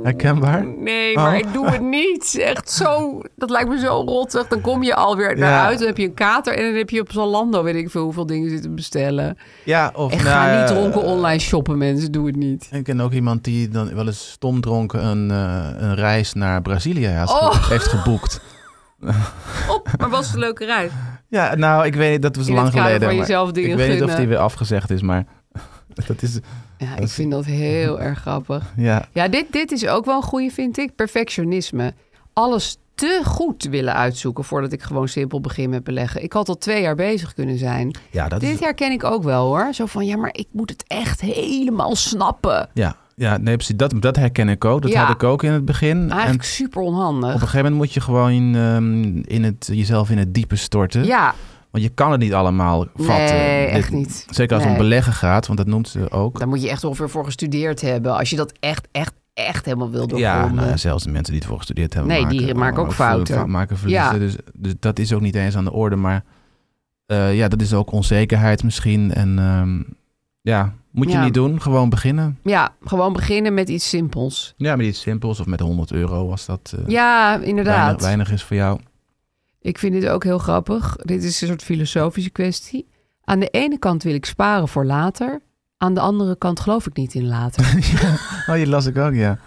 Speaker 3: Herkenbaar?
Speaker 4: Nee, maar
Speaker 3: Oh.
Speaker 4: ik doe het niet. Echt zo. Dat lijkt me zo rottig. Dan kom je alweer naar
Speaker 3: Ja.
Speaker 4: uit. Dan heb je een kater. En dan heb je op Zalando weet ik veel hoeveel dingen zitten bestellen.
Speaker 3: Ja, of
Speaker 4: Echt,
Speaker 3: nou,
Speaker 4: ga niet
Speaker 3: eh,
Speaker 4: dronken online shoppen, mensen. Doe het niet.
Speaker 3: Ik ken ook iemand die dan wel eens stom dronken een, eh, een reis naar Brazilië heeft, ge-
Speaker 4: Oh.
Speaker 3: heeft geboekt.
Speaker 4: Op, maar was het een leuke reis.
Speaker 3: Ja, nou, ik weet niet, dat was
Speaker 4: In
Speaker 3: lang
Speaker 4: het kader
Speaker 3: geleden.
Speaker 4: van
Speaker 3: maar
Speaker 4: jezelf dingen
Speaker 3: ik weet niet of
Speaker 4: gunnen.
Speaker 3: die weer afgezegd is, maar dat is,
Speaker 4: Ja, ik
Speaker 3: is-
Speaker 4: vind dat heel erg grappig.
Speaker 3: ja.
Speaker 4: Ja, dit, dit is ook wel een goeie, vind ik. Perfectionisme. Alles te goed willen uitzoeken voordat ik gewoon simpel begin met beleggen. Ik had al twee jaar bezig kunnen zijn.
Speaker 3: Ja, dat
Speaker 4: dit
Speaker 3: is,
Speaker 4: herken ik ook wel hoor. Zo van, ja, maar ik moet het echt helemaal snappen.
Speaker 3: ja, ja, nee, precies. Dat, dat herken ik ook. Dat
Speaker 4: Ja. Ah,
Speaker 3: had ik ook in het begin.
Speaker 4: Maar
Speaker 3: En op
Speaker 4: eigenlijk super
Speaker 3: een
Speaker 4: onhandig.
Speaker 3: gegeven moment moet je gewoon ehm, in het, jezelf in het diepe storten.
Speaker 4: Ja,
Speaker 3: Want je kan het niet allemaal vatten.
Speaker 4: nee,
Speaker 3: eh, Dit-
Speaker 4: echt niet.
Speaker 3: Zeker als het om
Speaker 4: Nee.
Speaker 3: beleggen gaat, want dat noemt ze ook.
Speaker 4: Daar moet je echt ongeveer voor gestudeerd hebben. Als je dat echt, echt, echt helemaal wil
Speaker 3: Ja,
Speaker 4: doorgronden.
Speaker 3: nou ja, zelfs de mensen die het voor gestudeerd hebben.
Speaker 4: Nee, die maken ook fouten.
Speaker 3: ver- eh, Maken verliezen.
Speaker 4: Ja.
Speaker 3: Dus, dus dat is ook niet eens aan de orde. Maar eh, ja, dat is ook onzekerheid misschien. En ehm, ja, moet je
Speaker 4: Ja.
Speaker 3: niet doen. Gewoon beginnen.
Speaker 4: ja, gewoon beginnen met iets simpels.
Speaker 3: Ja, met iets simpels of met 100 euro als dat eh,
Speaker 4: Ja,
Speaker 3: weinig,
Speaker 4: inderdaad.
Speaker 3: weinig is voor jou.
Speaker 4: Ik vind dit ook heel grappig. Dit is een soort filosofische kwestie. Aan de ene kant wil ik sparen voor later. Aan de andere kant geloof ik niet in later.
Speaker 3: Oh, die las ik ook, ja.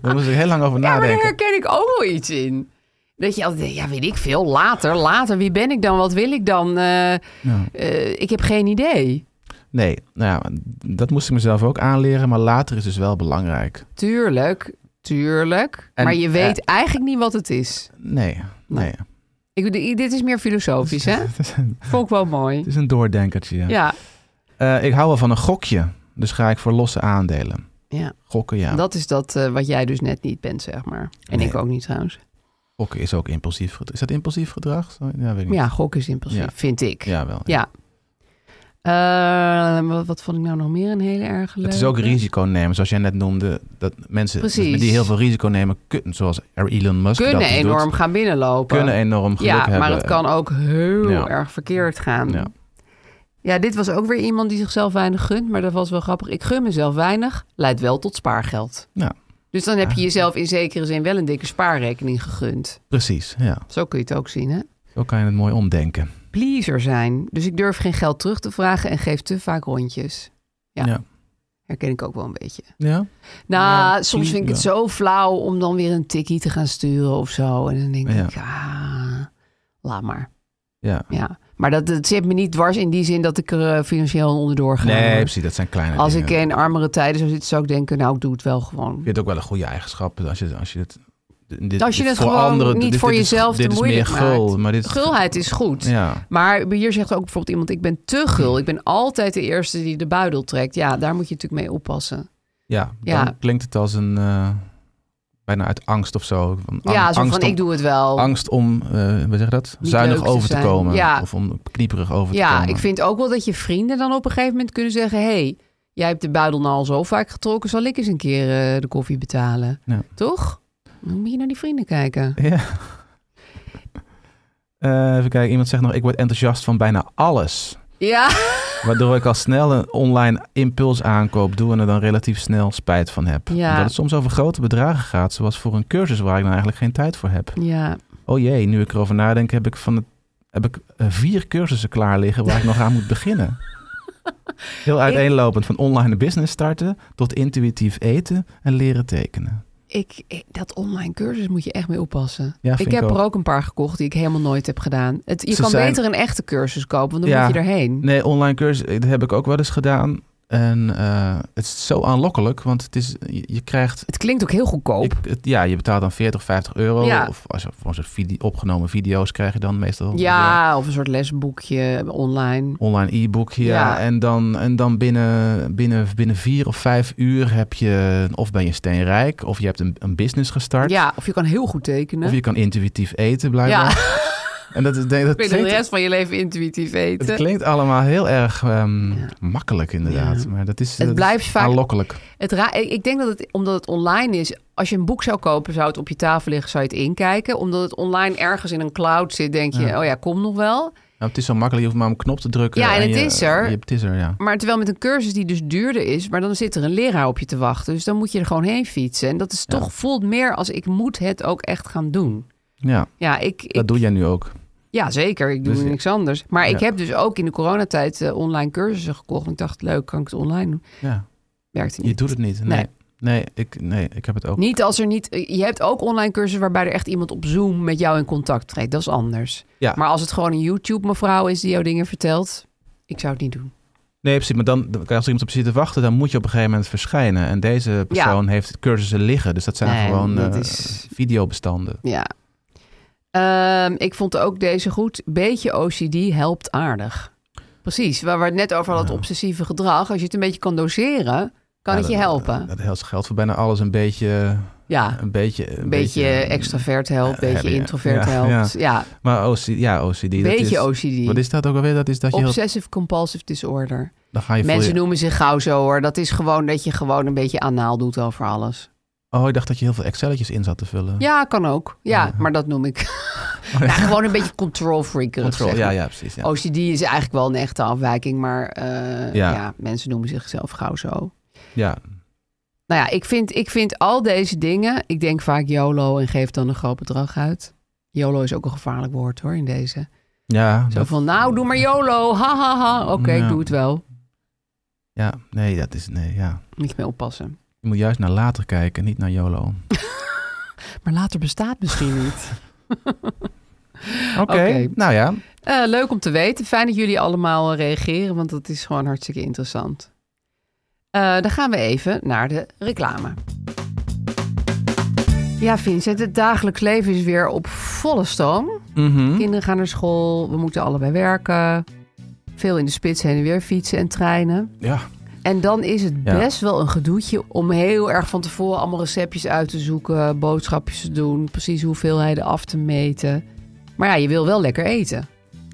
Speaker 3: Daar moest ik heel lang over
Speaker 4: ja, maar daar
Speaker 3: nadenken.
Speaker 4: herken ik ook wel iets in. Dat je altijd denkt, ja, weet ik veel, later, later. Wie ben ik dan? Wat wil ik dan? Eh,
Speaker 3: Ja.
Speaker 4: eh, ik heb geen idee.
Speaker 3: Nee, nou ja, dat moest ik mezelf ook aanleren. Maar later is dus wel belangrijk.
Speaker 4: Tuurlijk, tuurlijk.
Speaker 3: En, eh,
Speaker 4: maar je weet eigenlijk niet wat het is.
Speaker 3: Nee, nee.
Speaker 4: Ik, bedoel, dit is meer filosofisch, Nou, hè? Vond ik wel mooi.
Speaker 3: Het is een doordenkertje, ja.
Speaker 4: Ja,
Speaker 3: Eh, ik hou wel van een gokje. Dus ga ik voor losse aandelen.
Speaker 4: ja.
Speaker 3: Gokken, ja.
Speaker 4: dat is dat eh, wat jij dus net niet bent, zeg maar. En
Speaker 3: Nee.
Speaker 4: ik ook niet trouwens.
Speaker 3: Gokken is ook impulsief gedrag. Is dat impulsief gedrag? Zo- Ja, weet ik niet.
Speaker 4: Ja, gok is impulsief,
Speaker 3: Ja.
Speaker 4: vind ik.
Speaker 3: Ja, wel.
Speaker 4: Ja. Eh, wat, wat vond ik nou nog meer een hele erg leuke?
Speaker 3: Het is ook risico nemen, zoals jij net noemde. Dat mensen
Speaker 4: Precies.
Speaker 3: die heel veel risico nemen, kunnen, zoals Elon Musk dat
Speaker 4: Kunnen
Speaker 3: dus
Speaker 4: enorm
Speaker 3: doet,
Speaker 4: gaan binnenlopen.
Speaker 3: kunnen enorm geluk
Speaker 4: ja,
Speaker 3: hebben.
Speaker 4: maar het kan ook heel
Speaker 3: Ja.
Speaker 4: erg verkeerd gaan.
Speaker 3: Ja.
Speaker 4: Ja. dit was ook weer iemand die zichzelf weinig gunt, maar dat was wel grappig. Ik gun mezelf weinig, leidt wel tot spaargeld.
Speaker 3: Ja,
Speaker 4: Dus dan heb je jezelf in zekere zin wel een dikke spaarrekening gegund.
Speaker 3: precies. Ja.
Speaker 4: Zo kun je het ook zien, hè?
Speaker 3: Zo kan je het mooi omdenken.
Speaker 4: pleaser zijn. Dus ik durf geen geld terug te vragen en geef te vaak rondjes. Ja.
Speaker 3: Ja.
Speaker 4: Herken ik ook wel een beetje.
Speaker 3: Ja?
Speaker 4: Nou,
Speaker 3: Ja,
Speaker 4: soms vind ik het
Speaker 3: ja.
Speaker 4: zo flauw om dan weer een tikkie te gaan sturen of zo. En dan denk
Speaker 3: Ja.
Speaker 4: ik, ah, laat maar.
Speaker 3: ja.
Speaker 4: Ja. Maar dat, dat zit me niet dwars in die zin dat ik er eh, financieel onderdoor ga.
Speaker 3: Nee, precies. Dat zijn kleine
Speaker 4: Als
Speaker 3: dingen.
Speaker 4: ik in armere tijden zou zitten, zou ik denken, nou, ik doe het wel gewoon.
Speaker 3: Ik vind het ook wel een goede eigenschap. dus Als je, als je het, dit,
Speaker 4: Als je
Speaker 3: dit
Speaker 4: het gewoon niet
Speaker 3: dit- dit
Speaker 4: voor
Speaker 3: is-
Speaker 4: jezelf te
Speaker 3: dit is meer
Speaker 4: moeilijk
Speaker 3: gul,
Speaker 4: maakt.
Speaker 3: maar dit is-
Speaker 4: Gulheid is goed.
Speaker 3: Ja.
Speaker 4: Maar hier zegt ook bijvoorbeeld iemand, ik ben te gul. Ik ben altijd de eerste die de buidel trekt. Ja, daar moet je natuurlijk mee oppassen.
Speaker 3: Ja, dan
Speaker 4: Ja.
Speaker 3: klinkt het als een... eh, bijna uit angst of zo. Van ang-
Speaker 4: ja, zo
Speaker 3: angst
Speaker 4: van,
Speaker 3: om,
Speaker 4: ik doe het wel.
Speaker 3: Angst om, eh we zeggen dat?
Speaker 4: Niet
Speaker 3: zuinig
Speaker 4: leuk te
Speaker 3: over te
Speaker 4: zijn.
Speaker 3: komen.
Speaker 4: Ja.
Speaker 3: Of om knieperig over te
Speaker 4: Ja,
Speaker 3: komen.
Speaker 4: ik vind ook wel dat je vrienden dan op een gegeven moment kunnen zeggen... hé, hey, jij hebt de buidel nou al zo vaak getrokken... zal ik eens een keer eh, de koffie betalen.
Speaker 3: Ja.
Speaker 4: Toch? Dan moet je naar die vrienden kijken.
Speaker 3: Ja. Eh, even kijken, iemand zegt nog, ik word enthousiast van bijna alles.
Speaker 4: Ja,
Speaker 3: Waardoor ik al snel een online impuls aankoop doe en er dan relatief snel spijt van heb.
Speaker 4: Ja.
Speaker 3: Omdat het soms over grote bedragen gaat, zoals voor een cursus waar ik nou eigenlijk geen tijd voor heb.
Speaker 4: ja.
Speaker 3: Oh jee, nu ik erover nadenk, heb ik, van het, heb ik eh, vier cursussen klaar liggen waar ik nog aan moet beginnen. Heel uiteenlopend, van online business starten tot intuïtief eten en leren tekenen.
Speaker 4: Ik, ik- dat online cursus moet je echt mee oppassen.
Speaker 3: Ja, vind
Speaker 4: ik
Speaker 3: ik
Speaker 4: heb
Speaker 3: ook.
Speaker 4: er ook een paar gekocht die ik helemaal nooit heb gedaan. Het, je
Speaker 3: Ze
Speaker 4: kan
Speaker 3: zijn-
Speaker 4: beter een echte cursus kopen, want dan
Speaker 3: Ja.
Speaker 4: moet je erheen.
Speaker 3: Nee, online cursus, eh, dat heb ik ook wel eens gedaan. En eh, het is zo aanlokkelijk, want het is, je, je krijgt...
Speaker 4: Het klinkt ook heel goedkoop.
Speaker 3: ik- het- ja, je betaalt dan 40, 50 euro.
Speaker 4: Ja.
Speaker 3: Of als je voor zo'n video, opgenomen video's krijg je dan meestal...
Speaker 4: ja, of een soort lesboekje online.
Speaker 3: een Online e-book hier.
Speaker 4: Ja.
Speaker 3: En dan, en dan binnen, binnen, binnen vier of vijf uur heb je... Of ben je steenrijk, of je hebt een, een business gestart.
Speaker 4: Ja, of je kan heel goed tekenen.
Speaker 3: Of je kan intuïtief eten,
Speaker 4: ja,
Speaker 3: blijkbaar. En dat, is- dat, dat
Speaker 4: kun je de
Speaker 3: klinkt-
Speaker 4: rest van je leven intuïtief eten.
Speaker 3: het klinkt allemaal heel erg ehm,
Speaker 4: Ja.
Speaker 3: makkelijk, inderdaad.
Speaker 4: Ja.
Speaker 3: Maar dat is,
Speaker 4: Het
Speaker 3: dat is
Speaker 4: blijft vaak-
Speaker 3: aanlokkelijk.
Speaker 4: Het ra- ik ik denk dat het, omdat het online is, als je een boek zou kopen, zou het op je tafel liggen, zou je het inkijken. Omdat het online ergens in een cloud zit, denk je,
Speaker 3: Ja.
Speaker 4: oh ja, kom nog wel.
Speaker 3: Nou, het is zo makkelijk, je hoeft maar op een knop te drukken.
Speaker 4: Ja, en het
Speaker 3: je-
Speaker 4: is er.
Speaker 3: Je, het is er, ja.
Speaker 4: Maar terwijl met een cursus die dus duurder is, maar dan zit er een leraar op je te wachten. Dus dan moet je er gewoon heen fietsen. En dat is
Speaker 3: Ja.
Speaker 4: toch, voelt meer als ik moet het ook echt gaan doen.
Speaker 3: ja
Speaker 4: Ja, ik, ik-
Speaker 3: dat doe jij nu ook.
Speaker 4: ja zeker. Ik doe
Speaker 3: Dus-
Speaker 4: niks anders. Maar ik
Speaker 3: Ja.
Speaker 4: heb dus ook in de coronatijd eh, online cursussen gekocht. En ik dacht, leuk, kan ik het online doen?
Speaker 3: Ja,
Speaker 4: Werkte
Speaker 3: je
Speaker 4: niet.
Speaker 3: doet het niet. Nee,
Speaker 4: Nee.
Speaker 3: nee. ik, nee ik heb het ook.
Speaker 4: Niet als er niet. eh, Je hebt ook online cursussen waarbij er echt iemand op Zoom met jou in contact treedt. Dat is anders.
Speaker 3: Ja.
Speaker 4: Maar als het gewoon een YouTube-mevrouw is die jou dingen vertelt, ik zou het niet doen.
Speaker 3: Nee, precies. Maar dan, als er iemand op zit te wachten, dan moet je op een gegeven moment verschijnen. En deze persoon heeft cursussen liggen. Dus dat zijn
Speaker 4: Nee,
Speaker 3: gewoon
Speaker 4: dat
Speaker 3: eh,
Speaker 4: is-
Speaker 3: videobestanden.
Speaker 4: Ja. Ehm, ik vond ook deze goed. Beetje OCD helpt aardig. Precies. Waar we het net over hadden, het obsessieve gedrag. Als je het een beetje kan doseren, kan
Speaker 3: Ja,
Speaker 4: het je
Speaker 3: dat-
Speaker 4: helpen.
Speaker 3: Dat, dat geldt voor bijna alles een beetje...
Speaker 4: ja.
Speaker 3: Een beetje, eh,
Speaker 4: Een beetje extravert helpt, een beetje
Speaker 3: ja,
Speaker 4: introvert
Speaker 3: ja,
Speaker 4: helpt. Ja,
Speaker 3: Maar OC, ja, OCD.
Speaker 4: een
Speaker 3: dat
Speaker 4: beetje
Speaker 3: is,
Speaker 4: OCD.
Speaker 3: Wat is dat ook alweer? Dat is dat je... heel-
Speaker 4: Obsessive compulsive disorder.
Speaker 3: dan ga je voel
Speaker 4: Mensen
Speaker 3: je-
Speaker 4: noemen zich gauw zo hoor. Dat is gewoon dat je gewoon een beetje anaal doet over alles.
Speaker 3: Oh, ik dacht dat je heel veel Excelletjes in zat te vullen.
Speaker 4: Ja, kan ook. Ja, maar dat noem ik. ja. gewoon een beetje control freakerig.
Speaker 3: Control,
Speaker 4: zeg
Speaker 3: ja,
Speaker 4: maar.
Speaker 3: ja, precies. Ja.
Speaker 4: OCD is eigenlijk wel een echte afwijking, maar eh, ja.
Speaker 3: Ja.
Speaker 4: mensen noemen zichzelf gauw zo.
Speaker 3: ja.
Speaker 4: Nou ja, ik vind, ik vind al deze dingen, ik denk vaak YOLO en geef dan een groot bedrag uit. YOLO is ook een gevaarlijk woord hoor in deze.
Speaker 3: Ja,
Speaker 4: Zo
Speaker 3: dat-
Speaker 4: van, nou doe maar YOLO, ha ha ha. Oké, ik
Speaker 3: Ja.
Speaker 4: doe het wel.
Speaker 3: ja, nee, dat is nee, ja.
Speaker 4: Moet je mee oppassen.
Speaker 3: Je moet juist naar later kijken, niet naar YOLO.
Speaker 4: Maar later bestaat misschien niet.
Speaker 3: Oké,
Speaker 4: Oké.
Speaker 3: nou ja.
Speaker 4: Eh, leuk om te weten. Fijn dat jullie allemaal eh, reageren, want dat is gewoon hartstikke interessant. Eh, dan gaan we even naar de reclame. Ja, Vincent, het dagelijks leven is weer op volle stoom.
Speaker 3: Mhm.
Speaker 4: Kinderen gaan naar school, we moeten allebei werken. Veel in de spits heen en weer fietsen en treinen.
Speaker 3: Ja,
Speaker 4: En dan is het
Speaker 3: Ja.
Speaker 4: best wel een gedoetje om heel erg van tevoren allemaal receptjes uit te zoeken, boodschapjes te doen, precies hoeveelheden af te meten. Maar ja, je wil wel lekker eten.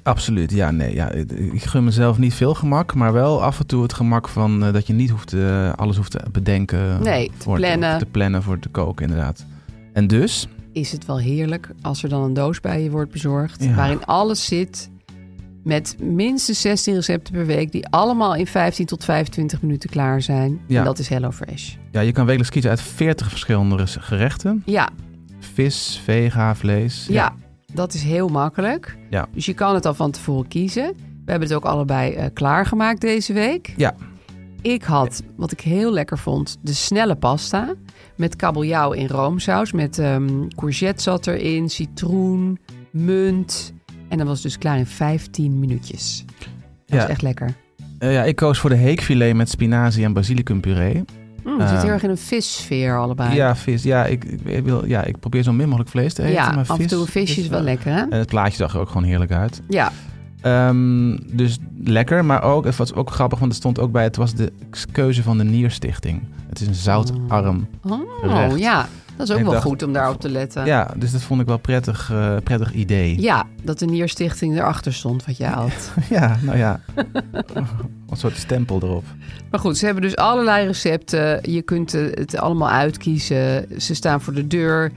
Speaker 3: absoluut. Ja, nee, ja, ik- ik gun mezelf niet veel gemak, maar wel af en toe het gemak van eh, dat je niet hoeft, eh, alles hoeft te bedenken.
Speaker 4: Nee, te
Speaker 3: voor het-
Speaker 4: plannen.
Speaker 3: te plannen voor te koken, inderdaad. En dus,
Speaker 4: is het wel heerlijk als er dan een doos bij je wordt bezorgd.
Speaker 3: Ja.
Speaker 4: Waarin alles zit. Met minstens 16 recepten per week. Die allemaal in 15 tot 25 minuten klaar zijn.
Speaker 3: Ja.
Speaker 4: En dat is HelloFresh.
Speaker 3: ja, je kan wekelijks kiezen uit 40 verschillende res- gerechten.
Speaker 4: Ja,
Speaker 3: Vis, vega, vlees.
Speaker 4: ja. Dat is heel makkelijk.
Speaker 3: Ja.
Speaker 4: Dus je kan het al van tevoren kiezen. We hebben het ook allebei eh, klaargemaakt deze week.
Speaker 3: Ja.
Speaker 4: Ik had, wat ik heel lekker vond, de snelle pasta. Met kabeljauw in roomsaus. Met ehm courgette zat erin, citroen, munt. En dat was dus klaar in 15 minuutjes. Dat
Speaker 3: Ja.
Speaker 4: is echt lekker.
Speaker 3: Eh, ja, ik koos voor de heekfilet met spinazie en basilicumpuree.
Speaker 4: Mm, het zit
Speaker 3: Ehm,
Speaker 4: heel erg in een vissfeer allebei.
Speaker 3: Ja, vis. Ja ik, ik wil, ja, ik probeer zo min mogelijk vlees te eten.
Speaker 4: Ja,
Speaker 3: maar
Speaker 4: af en
Speaker 3: vis
Speaker 4: toe een visje is wel lekker, hè?
Speaker 3: En het plaatje zag er ook gewoon heerlijk uit.
Speaker 4: Ja,
Speaker 3: Ehm, dus lekker, maar ook, het was ook grappig, want het stond ook bij, het was de keuze van de Nierstichting. Het is een zoutarm.
Speaker 4: Oh,
Speaker 3: Gerecht.
Speaker 4: ja. Dat is ook
Speaker 3: Ik
Speaker 4: wel
Speaker 3: dacht-
Speaker 4: goed om daarop te letten. Ja.
Speaker 3: Ja, dus dat vond ik wel prettig, eh, prettig idee.
Speaker 4: dat de Nierstichting erachter stond wat je had.
Speaker 3: Ja, nou ja. Een soort stempel erop.
Speaker 4: maar goed, ze hebben dus allerlei recepten. Je kunt eh, het allemaal uitkiezen. Ze staan voor de deur.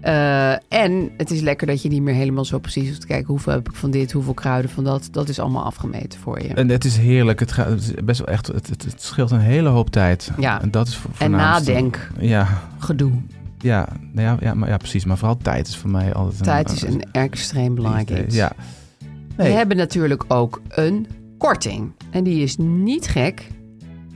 Speaker 4: Eh, en het is lekker dat je niet meer helemaal zo precies hoeft te kijken... hoeveel heb ik van dit, hoeveel kruiden van dat. Dat is allemaal afgemeten voor je.
Speaker 3: En het is heerlijk. Het, gaat, het is best wel echt, het, het, het scheelt een hele hoop tijd.
Speaker 4: Ja.
Speaker 3: En dat is voor
Speaker 4: En
Speaker 3: voornaamste.
Speaker 4: nadenk,
Speaker 3: Ja,
Speaker 4: gedoe.
Speaker 3: ja, nou ja, ja, maar, ja, precies. Maar vooral tijd is voor mij altijd een...
Speaker 4: Tijd is een extreem belangrijk iets.
Speaker 3: Ja. Nee.
Speaker 4: We hebben natuurlijk ook een korting. En die is niet gek.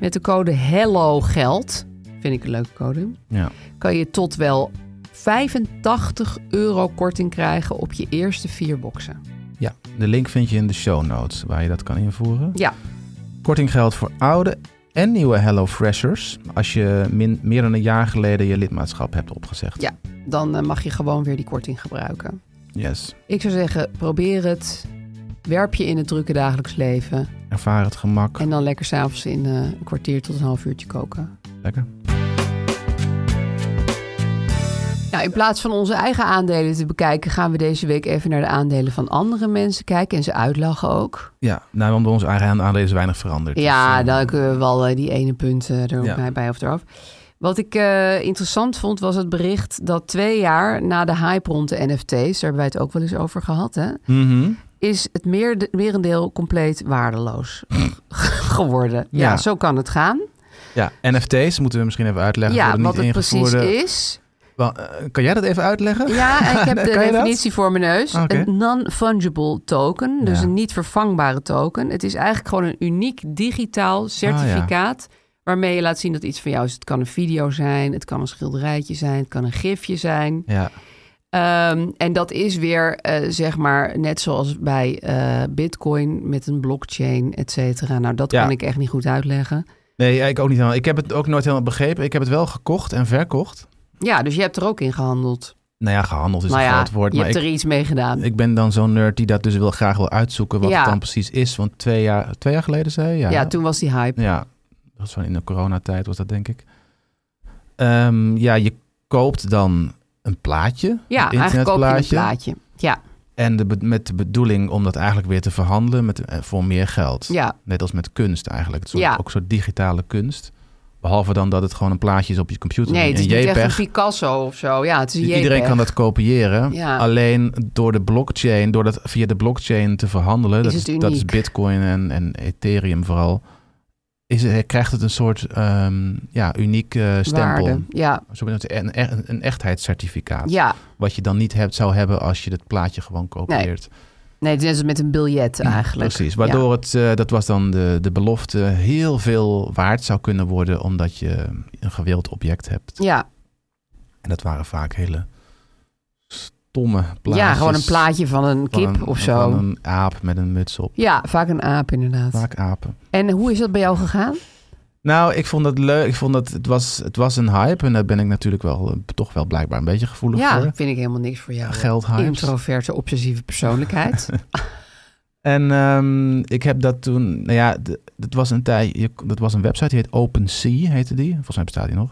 Speaker 4: Met de code HELLO GELD, vind ik een leuke code,
Speaker 3: Ja.
Speaker 4: kan je tot wel 85 euro korting krijgen op je eerste vier boxen.
Speaker 3: ja, de link vind je in de show notes waar je dat kan invoeren.
Speaker 4: Ja,
Speaker 3: Korting geldt voor oude en nieuwe Hello Freshers. Als je min, meer dan een jaar geleden je lidmaatschap hebt opgezegd.
Speaker 4: Ja. dan eh, mag je gewoon weer die korting gebruiken.
Speaker 3: Yes.
Speaker 4: Ik zou zeggen, probeer het. Werp je in het drukke dagelijks leven.
Speaker 3: Ervaar het gemak.
Speaker 4: En dan lekker s'avonds in eh, een kwartier tot een half uurtje koken.
Speaker 3: Lekker.
Speaker 4: Nou, in plaats van onze eigen aandelen te bekijken, gaan we deze week even naar de aandelen van andere mensen kijken en ze uitlachen ook.
Speaker 3: Ja, nou, want bij ons eigen aandelen is weinig veranderd. Dus,
Speaker 4: Ja,
Speaker 3: eh,
Speaker 4: dan kunnen we wel eh, die ene punt eh, er
Speaker 3: Ja.
Speaker 4: bij- bij of eraf. Wat ik eh, interessant vond, was het bericht dat twee jaar na de hype rond de NFT's, daar hebben wij het ook wel eens over gehad, hè,
Speaker 3: mhm.
Speaker 4: is het meer, merendeel compleet waardeloos geworden. Ja.
Speaker 3: Ja.
Speaker 4: zo kan het gaan.
Speaker 3: Ja, NFT's moeten we misschien even uitleggen.
Speaker 4: Ja,
Speaker 3: voor de
Speaker 4: wat het precies
Speaker 3: niet-ingevoerde.
Speaker 4: is.
Speaker 3: Wel, eh, kan jij dat even uitleggen?
Speaker 4: Ja, en ik heb de
Speaker 3: Kan je dat?
Speaker 4: definitie voor mijn neus.
Speaker 3: Oké.
Speaker 4: Een non-fungible token, dus
Speaker 3: Ja.
Speaker 4: een niet vervangbare token. Het is eigenlijk gewoon een uniek
Speaker 3: Ah,
Speaker 4: digitaal certificaat... waarmee je laat zien dat iets van jou is. Het kan een video zijn, het kan een schilderijtje zijn... het kan een gifje zijn.
Speaker 3: Ja,
Speaker 4: Ehm, en dat is weer, eh, zeg maar, net zoals bij eh, bitcoin... met een blockchain, et cetera. Nou, dat
Speaker 3: Ja.
Speaker 4: kan ik echt niet goed uitleggen.
Speaker 3: nee, ik ook niet helemaal. Ik heb het ook nooit helemaal begrepen. Ik heb het wel gekocht en verkocht.
Speaker 4: Ja, dus je hebt er ook in gehandeld.
Speaker 3: Nou ja, gehandeld is
Speaker 4: nou
Speaker 3: een
Speaker 4: ja,
Speaker 3: groot woord.
Speaker 4: je
Speaker 3: Maar
Speaker 4: hebt
Speaker 3: ik,
Speaker 4: er iets mee gedaan.
Speaker 3: ik ben dan zo'n nerd die dat dus wel graag wil uitzoeken wat
Speaker 4: Ja.
Speaker 3: het dan precies is. Want twee jaar, twee jaar geleden zei je? Ja,
Speaker 4: ja. toen was die hype.
Speaker 3: Ja, dat was van in de coronatijd was dat denk ik. Ehm, ja, je koopt dan een plaatje.
Speaker 4: Ja,
Speaker 3: een
Speaker 4: eigenlijk koop je een
Speaker 3: internetplaatje.
Speaker 4: plaatje. Ja,
Speaker 3: En de, be- met de bedoeling om dat eigenlijk weer te verhandelen met, eh, voor meer geld.
Speaker 4: ja.
Speaker 3: Net als met kunst eigenlijk. Het is
Speaker 4: Ja.
Speaker 3: ook een soort digitale kunst. Behalve dan dat het gewoon een plaatje is op je computer.
Speaker 4: Nee, het is
Speaker 3: een
Speaker 4: niet echt een
Speaker 3: JPEG.
Speaker 4: Picasso of zo. Ja, het is een JPEG.
Speaker 3: Iedereen kan dat kopiëren.
Speaker 4: Ja.
Speaker 3: Alleen door de blockchain, door dat via de blockchain te verhandelen, dat,
Speaker 4: het
Speaker 3: is, dat is
Speaker 4: uniek.
Speaker 3: Bitcoin en, en Ethereum vooral, is, het- krijgt het een soort ehm, ja, uniek eh, stempel.
Speaker 4: Waarde. Ja,
Speaker 3: Zo noemen we het, Een, een, een echtheidscertificaat.
Speaker 4: ja.
Speaker 3: Wat je dan niet hebt, zou hebben als je het plaatje gewoon kopieert.
Speaker 4: Nee, het is net als met een biljet eigenlijk.
Speaker 3: Precies,
Speaker 4: Ja.
Speaker 3: waardoor het, eh, dat was dan de, de belofte, heel veel waard zou kunnen worden omdat je een gewild object hebt.
Speaker 4: Ja,
Speaker 3: En dat waren vaak hele stomme
Speaker 4: ja.
Speaker 3: plaatjes.
Speaker 4: gewoon een plaatje van een
Speaker 3: Van
Speaker 4: kip
Speaker 3: een-
Speaker 4: of zo.
Speaker 3: Van een aap met een muts op.
Speaker 4: Ja, vaak een aap inderdaad.
Speaker 3: Vaak apen.
Speaker 4: En hoe is dat bij jou gegaan?
Speaker 3: Nou, ik vond dat leuk. Ik vond dat het was, het was een hype. En daar ben ik natuurlijk wel, eh, toch wel blijkbaar een beetje gevoelig
Speaker 4: Ja,
Speaker 3: voor.
Speaker 4: vind ik helemaal niks voor jou.
Speaker 3: Geldhypes.
Speaker 4: Introverte, obsessieve persoonlijkheid.
Speaker 3: En ehm, ik heb dat toen, nou ja, d- dat was een tijd, je- dat was een website die heet OpenSea, heette die. Volgens mij bestaat die nog.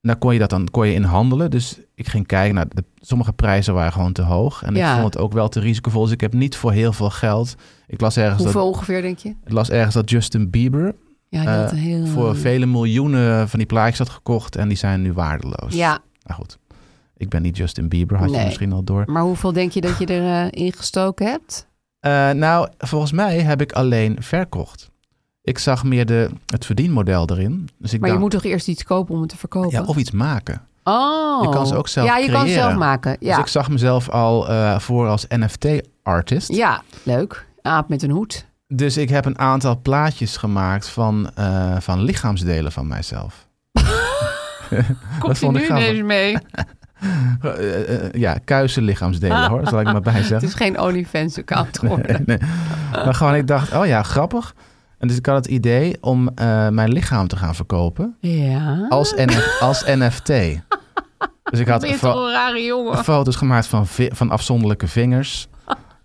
Speaker 3: En daar kon je dat dan, kon je in handelen. Dus ik ging kijken, nou, de, sommige prijzen waren gewoon te hoog. En
Speaker 4: Ja.
Speaker 3: ik vond het ook wel te risicovol. Dus ik heb niet voor heel veel geld. Ik las ergens,
Speaker 4: Hoeveel
Speaker 3: dat,
Speaker 4: ongeveer, denk je?
Speaker 3: ik las ergens dat Justin Bieber
Speaker 4: Ja, je had
Speaker 3: Eh,
Speaker 4: een heel...
Speaker 3: voor vele miljoenen van die plaatjes had gekocht en die zijn nu waardeloos.
Speaker 4: Ja,
Speaker 3: Nou goed, ik ben niet Justin Bieber, had
Speaker 4: Nee.
Speaker 3: je misschien al door.
Speaker 4: maar hoeveel denk je dat je erin gestoken hebt?
Speaker 3: Eh, nou, volgens mij heb ik alleen verkocht. Ik zag meer de, het verdienmodel erin. Dus ik
Speaker 4: Maar je
Speaker 3: dacht,
Speaker 4: moet toch eerst iets kopen om het te verkopen?
Speaker 3: ja, of iets maken.
Speaker 4: Oh.
Speaker 3: Je kan ze ook zelf
Speaker 4: Ja, je kan ze
Speaker 3: creëren.
Speaker 4: zelf maken. Ja,
Speaker 3: Dus ik zag mezelf al eh, voor als NFT-artist.
Speaker 4: ja leuk. Aap met een hoed.
Speaker 3: Dus ik heb een aantal plaatjes gemaakt van, eh, van lichaamsdelen van mijzelf.
Speaker 4: Komt hij
Speaker 3: vond ik
Speaker 4: nu
Speaker 3: grappig.
Speaker 4: ineens mee?
Speaker 3: Eh, eh, ja, kuisen lichaamsdelen hoor, zal ik er maar bij
Speaker 4: Het
Speaker 3: zeggen.
Speaker 4: is geen OnlyFans-account geworden.
Speaker 3: Nee. eh, Maar gewoon, ik dacht, oh ja, grappig. En dus ik had het idee om eh, mijn lichaam te gaan verkopen
Speaker 4: Ja.
Speaker 3: als, NF als NFT. Dus ik had
Speaker 4: ben je
Speaker 3: fo-
Speaker 4: toch een rare jongen?
Speaker 3: foto's gemaakt van, vi- van afzonderlijke vingers.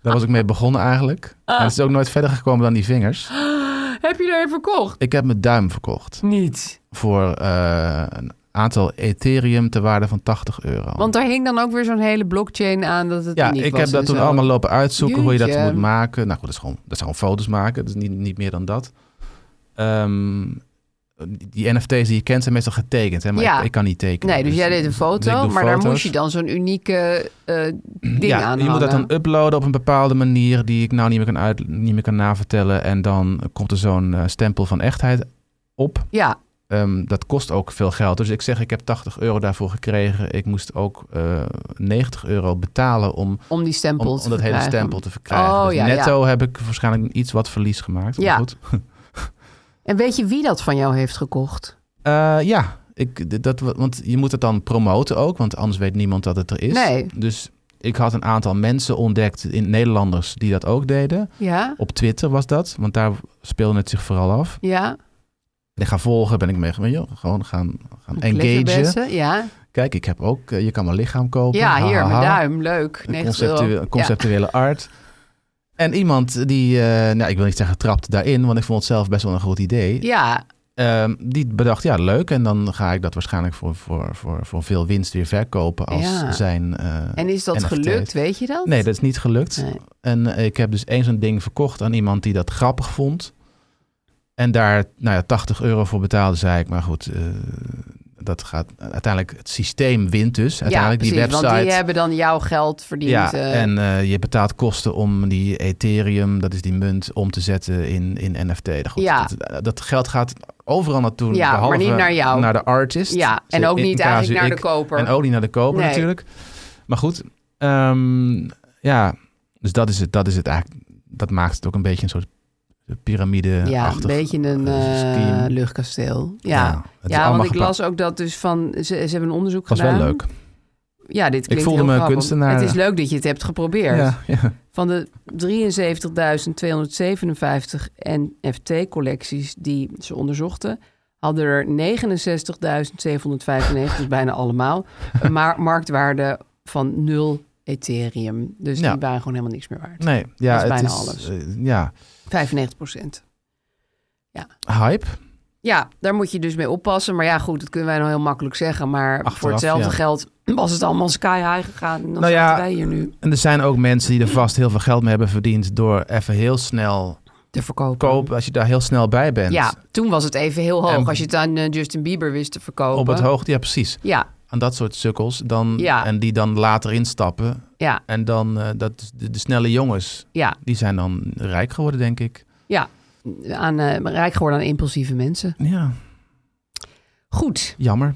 Speaker 3: Daar was ik mee begonnen eigenlijk. En het is ook nooit verder gekomen dan die vingers.
Speaker 4: Heb je er een verkocht?
Speaker 3: Ik heb mijn duim verkocht
Speaker 4: Niet.
Speaker 3: voor eh, een aantal Ethereum ter waarde van 80 euro.
Speaker 4: Want daar hing dan ook weer zo'n hele blockchain aan dat het
Speaker 3: ja,
Speaker 4: niet
Speaker 3: ik
Speaker 4: was
Speaker 3: heb dat
Speaker 4: en
Speaker 3: toen
Speaker 4: zo.
Speaker 3: allemaal lopen uitzoeken hoe je dat
Speaker 4: Jeetje.
Speaker 3: moet maken. Nou goed, dat, is gewoon, dat zijn gewoon foto's maken, dus niet, niet meer dan dat. Ehm, die NFT's die je kent zijn meestal getekend, hè? maar
Speaker 4: Ja.
Speaker 3: ik, ik kan niet tekenen.
Speaker 4: Nee, dus jij deed een
Speaker 3: dus
Speaker 4: foto,
Speaker 3: ik doe
Speaker 4: maar daar
Speaker 3: foto's.
Speaker 4: moest je dan zo'n unieke eh, ding
Speaker 3: ja,
Speaker 4: aan
Speaker 3: Je moet dat dan
Speaker 4: hangen.
Speaker 3: uploaden op een bepaalde manier die ik nou niet meer kan, uit, niet meer kan navertellen. En dan komt er zo'n eh, stempel van echtheid op.
Speaker 4: Ja,
Speaker 3: Ehm, dat kost ook veel geld. Dus ik zeg, ik heb 80 euro daarvoor gekregen. Ik moest ook eh 90 euro betalen om,
Speaker 4: om die
Speaker 3: om,
Speaker 4: stempel
Speaker 3: om
Speaker 4: te
Speaker 3: dat hele
Speaker 4: verkrijgen.
Speaker 3: stempel te verkrijgen.
Speaker 4: Oh,
Speaker 3: Dus
Speaker 4: ja,
Speaker 3: netto heb ik waarschijnlijk iets wat verlies gemaakt. Maar
Speaker 4: Ja.
Speaker 3: goed.
Speaker 4: En weet je wie dat van jou heeft gekocht?
Speaker 3: Eh, ja, ik, d- dat, want je moet het dan promoten ook, want anders weet niemand dat het er is.
Speaker 4: Nee.
Speaker 3: Dus ik had een aantal mensen ontdekt, in Nederlanders, die dat ook deden.
Speaker 4: Ja,
Speaker 3: Op Twitter was dat, want daar speelde het zich vooral af.
Speaker 4: ja.
Speaker 3: En ik ga volgen, ben ik mee maar joh, gewoon gaan, gaan engagen.
Speaker 4: Klittenbessen, Ja,
Speaker 3: Kijk, ik heb ook, eh, je kan mijn lichaam kopen.
Speaker 4: ja
Speaker 3: Ha,
Speaker 4: hier,
Speaker 3: ha,
Speaker 4: mijn
Speaker 3: ha.
Speaker 4: duim, leuk.
Speaker 3: Een
Speaker 4: 90
Speaker 3: Conceptuele,
Speaker 4: euro.
Speaker 3: conceptuele art. En iemand die, eh, nou ik wil niet zeggen trapt daarin, want ik vond het zelf best wel een goed idee.
Speaker 4: Ja,
Speaker 3: Ehm, die bedacht, ja leuk, en dan ga ik dat waarschijnlijk voor, voor, voor, voor veel winst weer verkopen als
Speaker 4: Ja.
Speaker 3: zijn... eh,
Speaker 4: en is dat
Speaker 3: NFT's.
Speaker 4: gelukt, weet je dat?
Speaker 3: Nee, dat is niet gelukt.
Speaker 4: Nee.
Speaker 3: En eh, ik heb dus eens een ding verkocht aan iemand die dat grappig vond. En daar nou ja, 80 euro voor betaalde, zei ik. Maar goed, eh, dat gaat uiteindelijk. Het systeem wint dus. Uiteindelijk
Speaker 4: ja,
Speaker 3: die
Speaker 4: precies,
Speaker 3: website.
Speaker 4: want die eh, hebben dan jouw geld verdiend.
Speaker 3: ja,
Speaker 4: eh,
Speaker 3: en eh, je betaalt kosten om die Ethereum, dat is die munt, om te zetten in, in NFT. Nou, Goed,
Speaker 4: Ja.
Speaker 3: dat, eh, dat geld gaat overal naartoe.
Speaker 4: Ja, maar
Speaker 3: behalve
Speaker 4: niet naar jou.
Speaker 3: Naar de artist.
Speaker 4: ja, en
Speaker 3: Zo
Speaker 4: ook
Speaker 3: in-
Speaker 4: niet
Speaker 3: in casu
Speaker 4: eigenlijk naar de
Speaker 3: ik.
Speaker 4: koper.
Speaker 3: En ook niet naar de koper
Speaker 4: Nee.
Speaker 3: natuurlijk. Maar goed, ehm, ja, dus dat is het. Dat is het eigenlijk. Dat maakt het ook een beetje een soort piramide
Speaker 4: ja, een beetje een eh, luchtkasteel. Ja,
Speaker 3: het is
Speaker 4: ja
Speaker 3: allemaal
Speaker 4: want ik
Speaker 3: gepla-
Speaker 4: las ook dat dus van... Ze, ze hebben een onderzoek
Speaker 3: was
Speaker 4: gedaan.
Speaker 3: wel leuk.
Speaker 4: Ja, dit klinkt
Speaker 3: voelde
Speaker 4: heel
Speaker 3: me
Speaker 4: grappig.
Speaker 3: kunstenaar.
Speaker 4: Het is leuk dat je het hebt geprobeerd.
Speaker 3: Ja, ja.
Speaker 4: Van de 73.257 NFT-collecties die ze onderzochten, hadden er 69.795, dus bijna allemaal, een ma- marktwaarde van 0 Ethereum. Dus
Speaker 3: Ja.
Speaker 4: die waren gewoon helemaal niks meer waard.
Speaker 3: Nee, ja,
Speaker 4: Dat is
Speaker 3: het
Speaker 4: bijna
Speaker 3: is
Speaker 4: alles.
Speaker 3: eh, ja,
Speaker 4: 95 procent.
Speaker 3: hype.
Speaker 4: Ja, daar moet je dus mee oppassen. Maar ja, goed, dat kunnen wij nou heel makkelijk zeggen. Maar voor
Speaker 3: Achteraf,
Speaker 4: hetzelfde
Speaker 3: ja.
Speaker 4: geld was het allemaal sky high gegaan. Dan
Speaker 3: Nou ja,
Speaker 4: zaten wij hier nu
Speaker 3: En er zijn ook mensen die er vast heel veel geld mee hebben verdiend door even heel snel
Speaker 4: te verkopen.
Speaker 3: kopen. Als je daar heel snel bij bent.
Speaker 4: Mm. Ja, toen was het even heel hoog.
Speaker 3: En-
Speaker 4: als je het aan eh, Justin Bieber wist te verkopen.
Speaker 3: Op het hoog, ja precies.
Speaker 4: Ja,
Speaker 3: Aan dat soort sukkels. Dan,
Speaker 4: Ja.
Speaker 3: En die dan later instappen.
Speaker 4: ja,
Speaker 3: En dan eh, dat, de, de snelle jongens,
Speaker 4: ja.
Speaker 3: die zijn dan rijk geworden, denk ik.
Speaker 4: ja. Aan, eh, rijk geworden aan impulsieve mensen.
Speaker 3: Ja,
Speaker 4: Goed,
Speaker 3: jammer.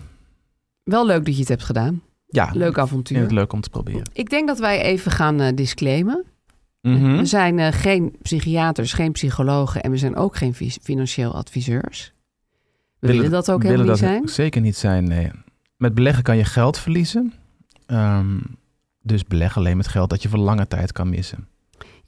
Speaker 4: wel leuk dat je het hebt gedaan.
Speaker 3: Ja,
Speaker 4: Leuk
Speaker 3: Ik vind het
Speaker 4: avontuur.
Speaker 3: Ah, leuk om te proberen.
Speaker 4: Ik denk dat wij even gaan eh, disclaimen. We
Speaker 3: Mhm.
Speaker 4: zijn eh, geen psychiaters, geen psychologen en we zijn ook geen vis- financieel adviseurs. We willen, dat ook helemaal
Speaker 3: willen
Speaker 4: niet
Speaker 3: dat
Speaker 4: zijn.
Speaker 3: Zeker niet zijn, nee. Met beleggen kan je geld verliezen. Ehm, dus beleg alleen met geld dat je voor lange tijd kan missen.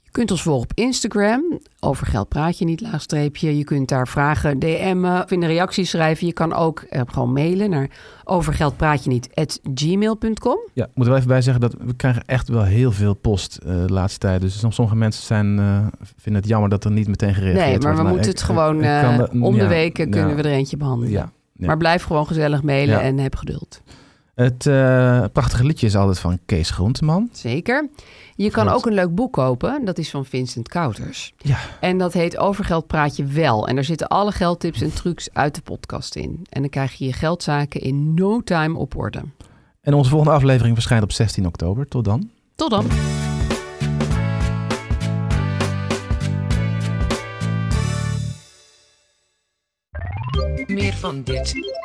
Speaker 4: Je kunt ons volgen op Instagram. Over geld praat je niet, laagstreepje. Je kunt daar vragen, DM'en of in de reacties schrijven. Je kan ook eh, gewoon mailen naar overgeldpraatje niet gmail.com.
Speaker 3: Ja, moeten we even bij zeggen dat we krijgen echt wel heel veel post eh, de laatste tijd. Dus soms- sommige mensen zijn, eh, vinden het jammer dat er niet meteen gereageerd
Speaker 4: Nee,
Speaker 3: wordt.
Speaker 4: maar we moeten
Speaker 3: ik-
Speaker 4: het gewoon
Speaker 3: ik kan
Speaker 4: eh,
Speaker 3: dat-
Speaker 4: om de
Speaker 3: ja,
Speaker 4: weken
Speaker 3: ja,
Speaker 4: kunnen we er eentje behandelen.
Speaker 3: Ja. ja.
Speaker 4: Maar blijf gewoon gezellig mailen
Speaker 3: Ja.
Speaker 4: en heb geduld.
Speaker 3: Het eh, prachtige liedje is altijd van Kees Groenteman.
Speaker 4: Zeker. Je kan
Speaker 3: Klopt.
Speaker 4: ook een leuk boek kopen. Dat is van Vincent Kouters.
Speaker 3: Ja.
Speaker 4: En dat heet Over geld praat je wel. En daar zitten alle geldtips en trucs uit de podcast in. En dan krijg je je geldzaken in no time op orde.
Speaker 3: En onze volgende aflevering verschijnt op 16 oktober. Tot dan.
Speaker 4: Tot dan.
Speaker 5: Meer van dit.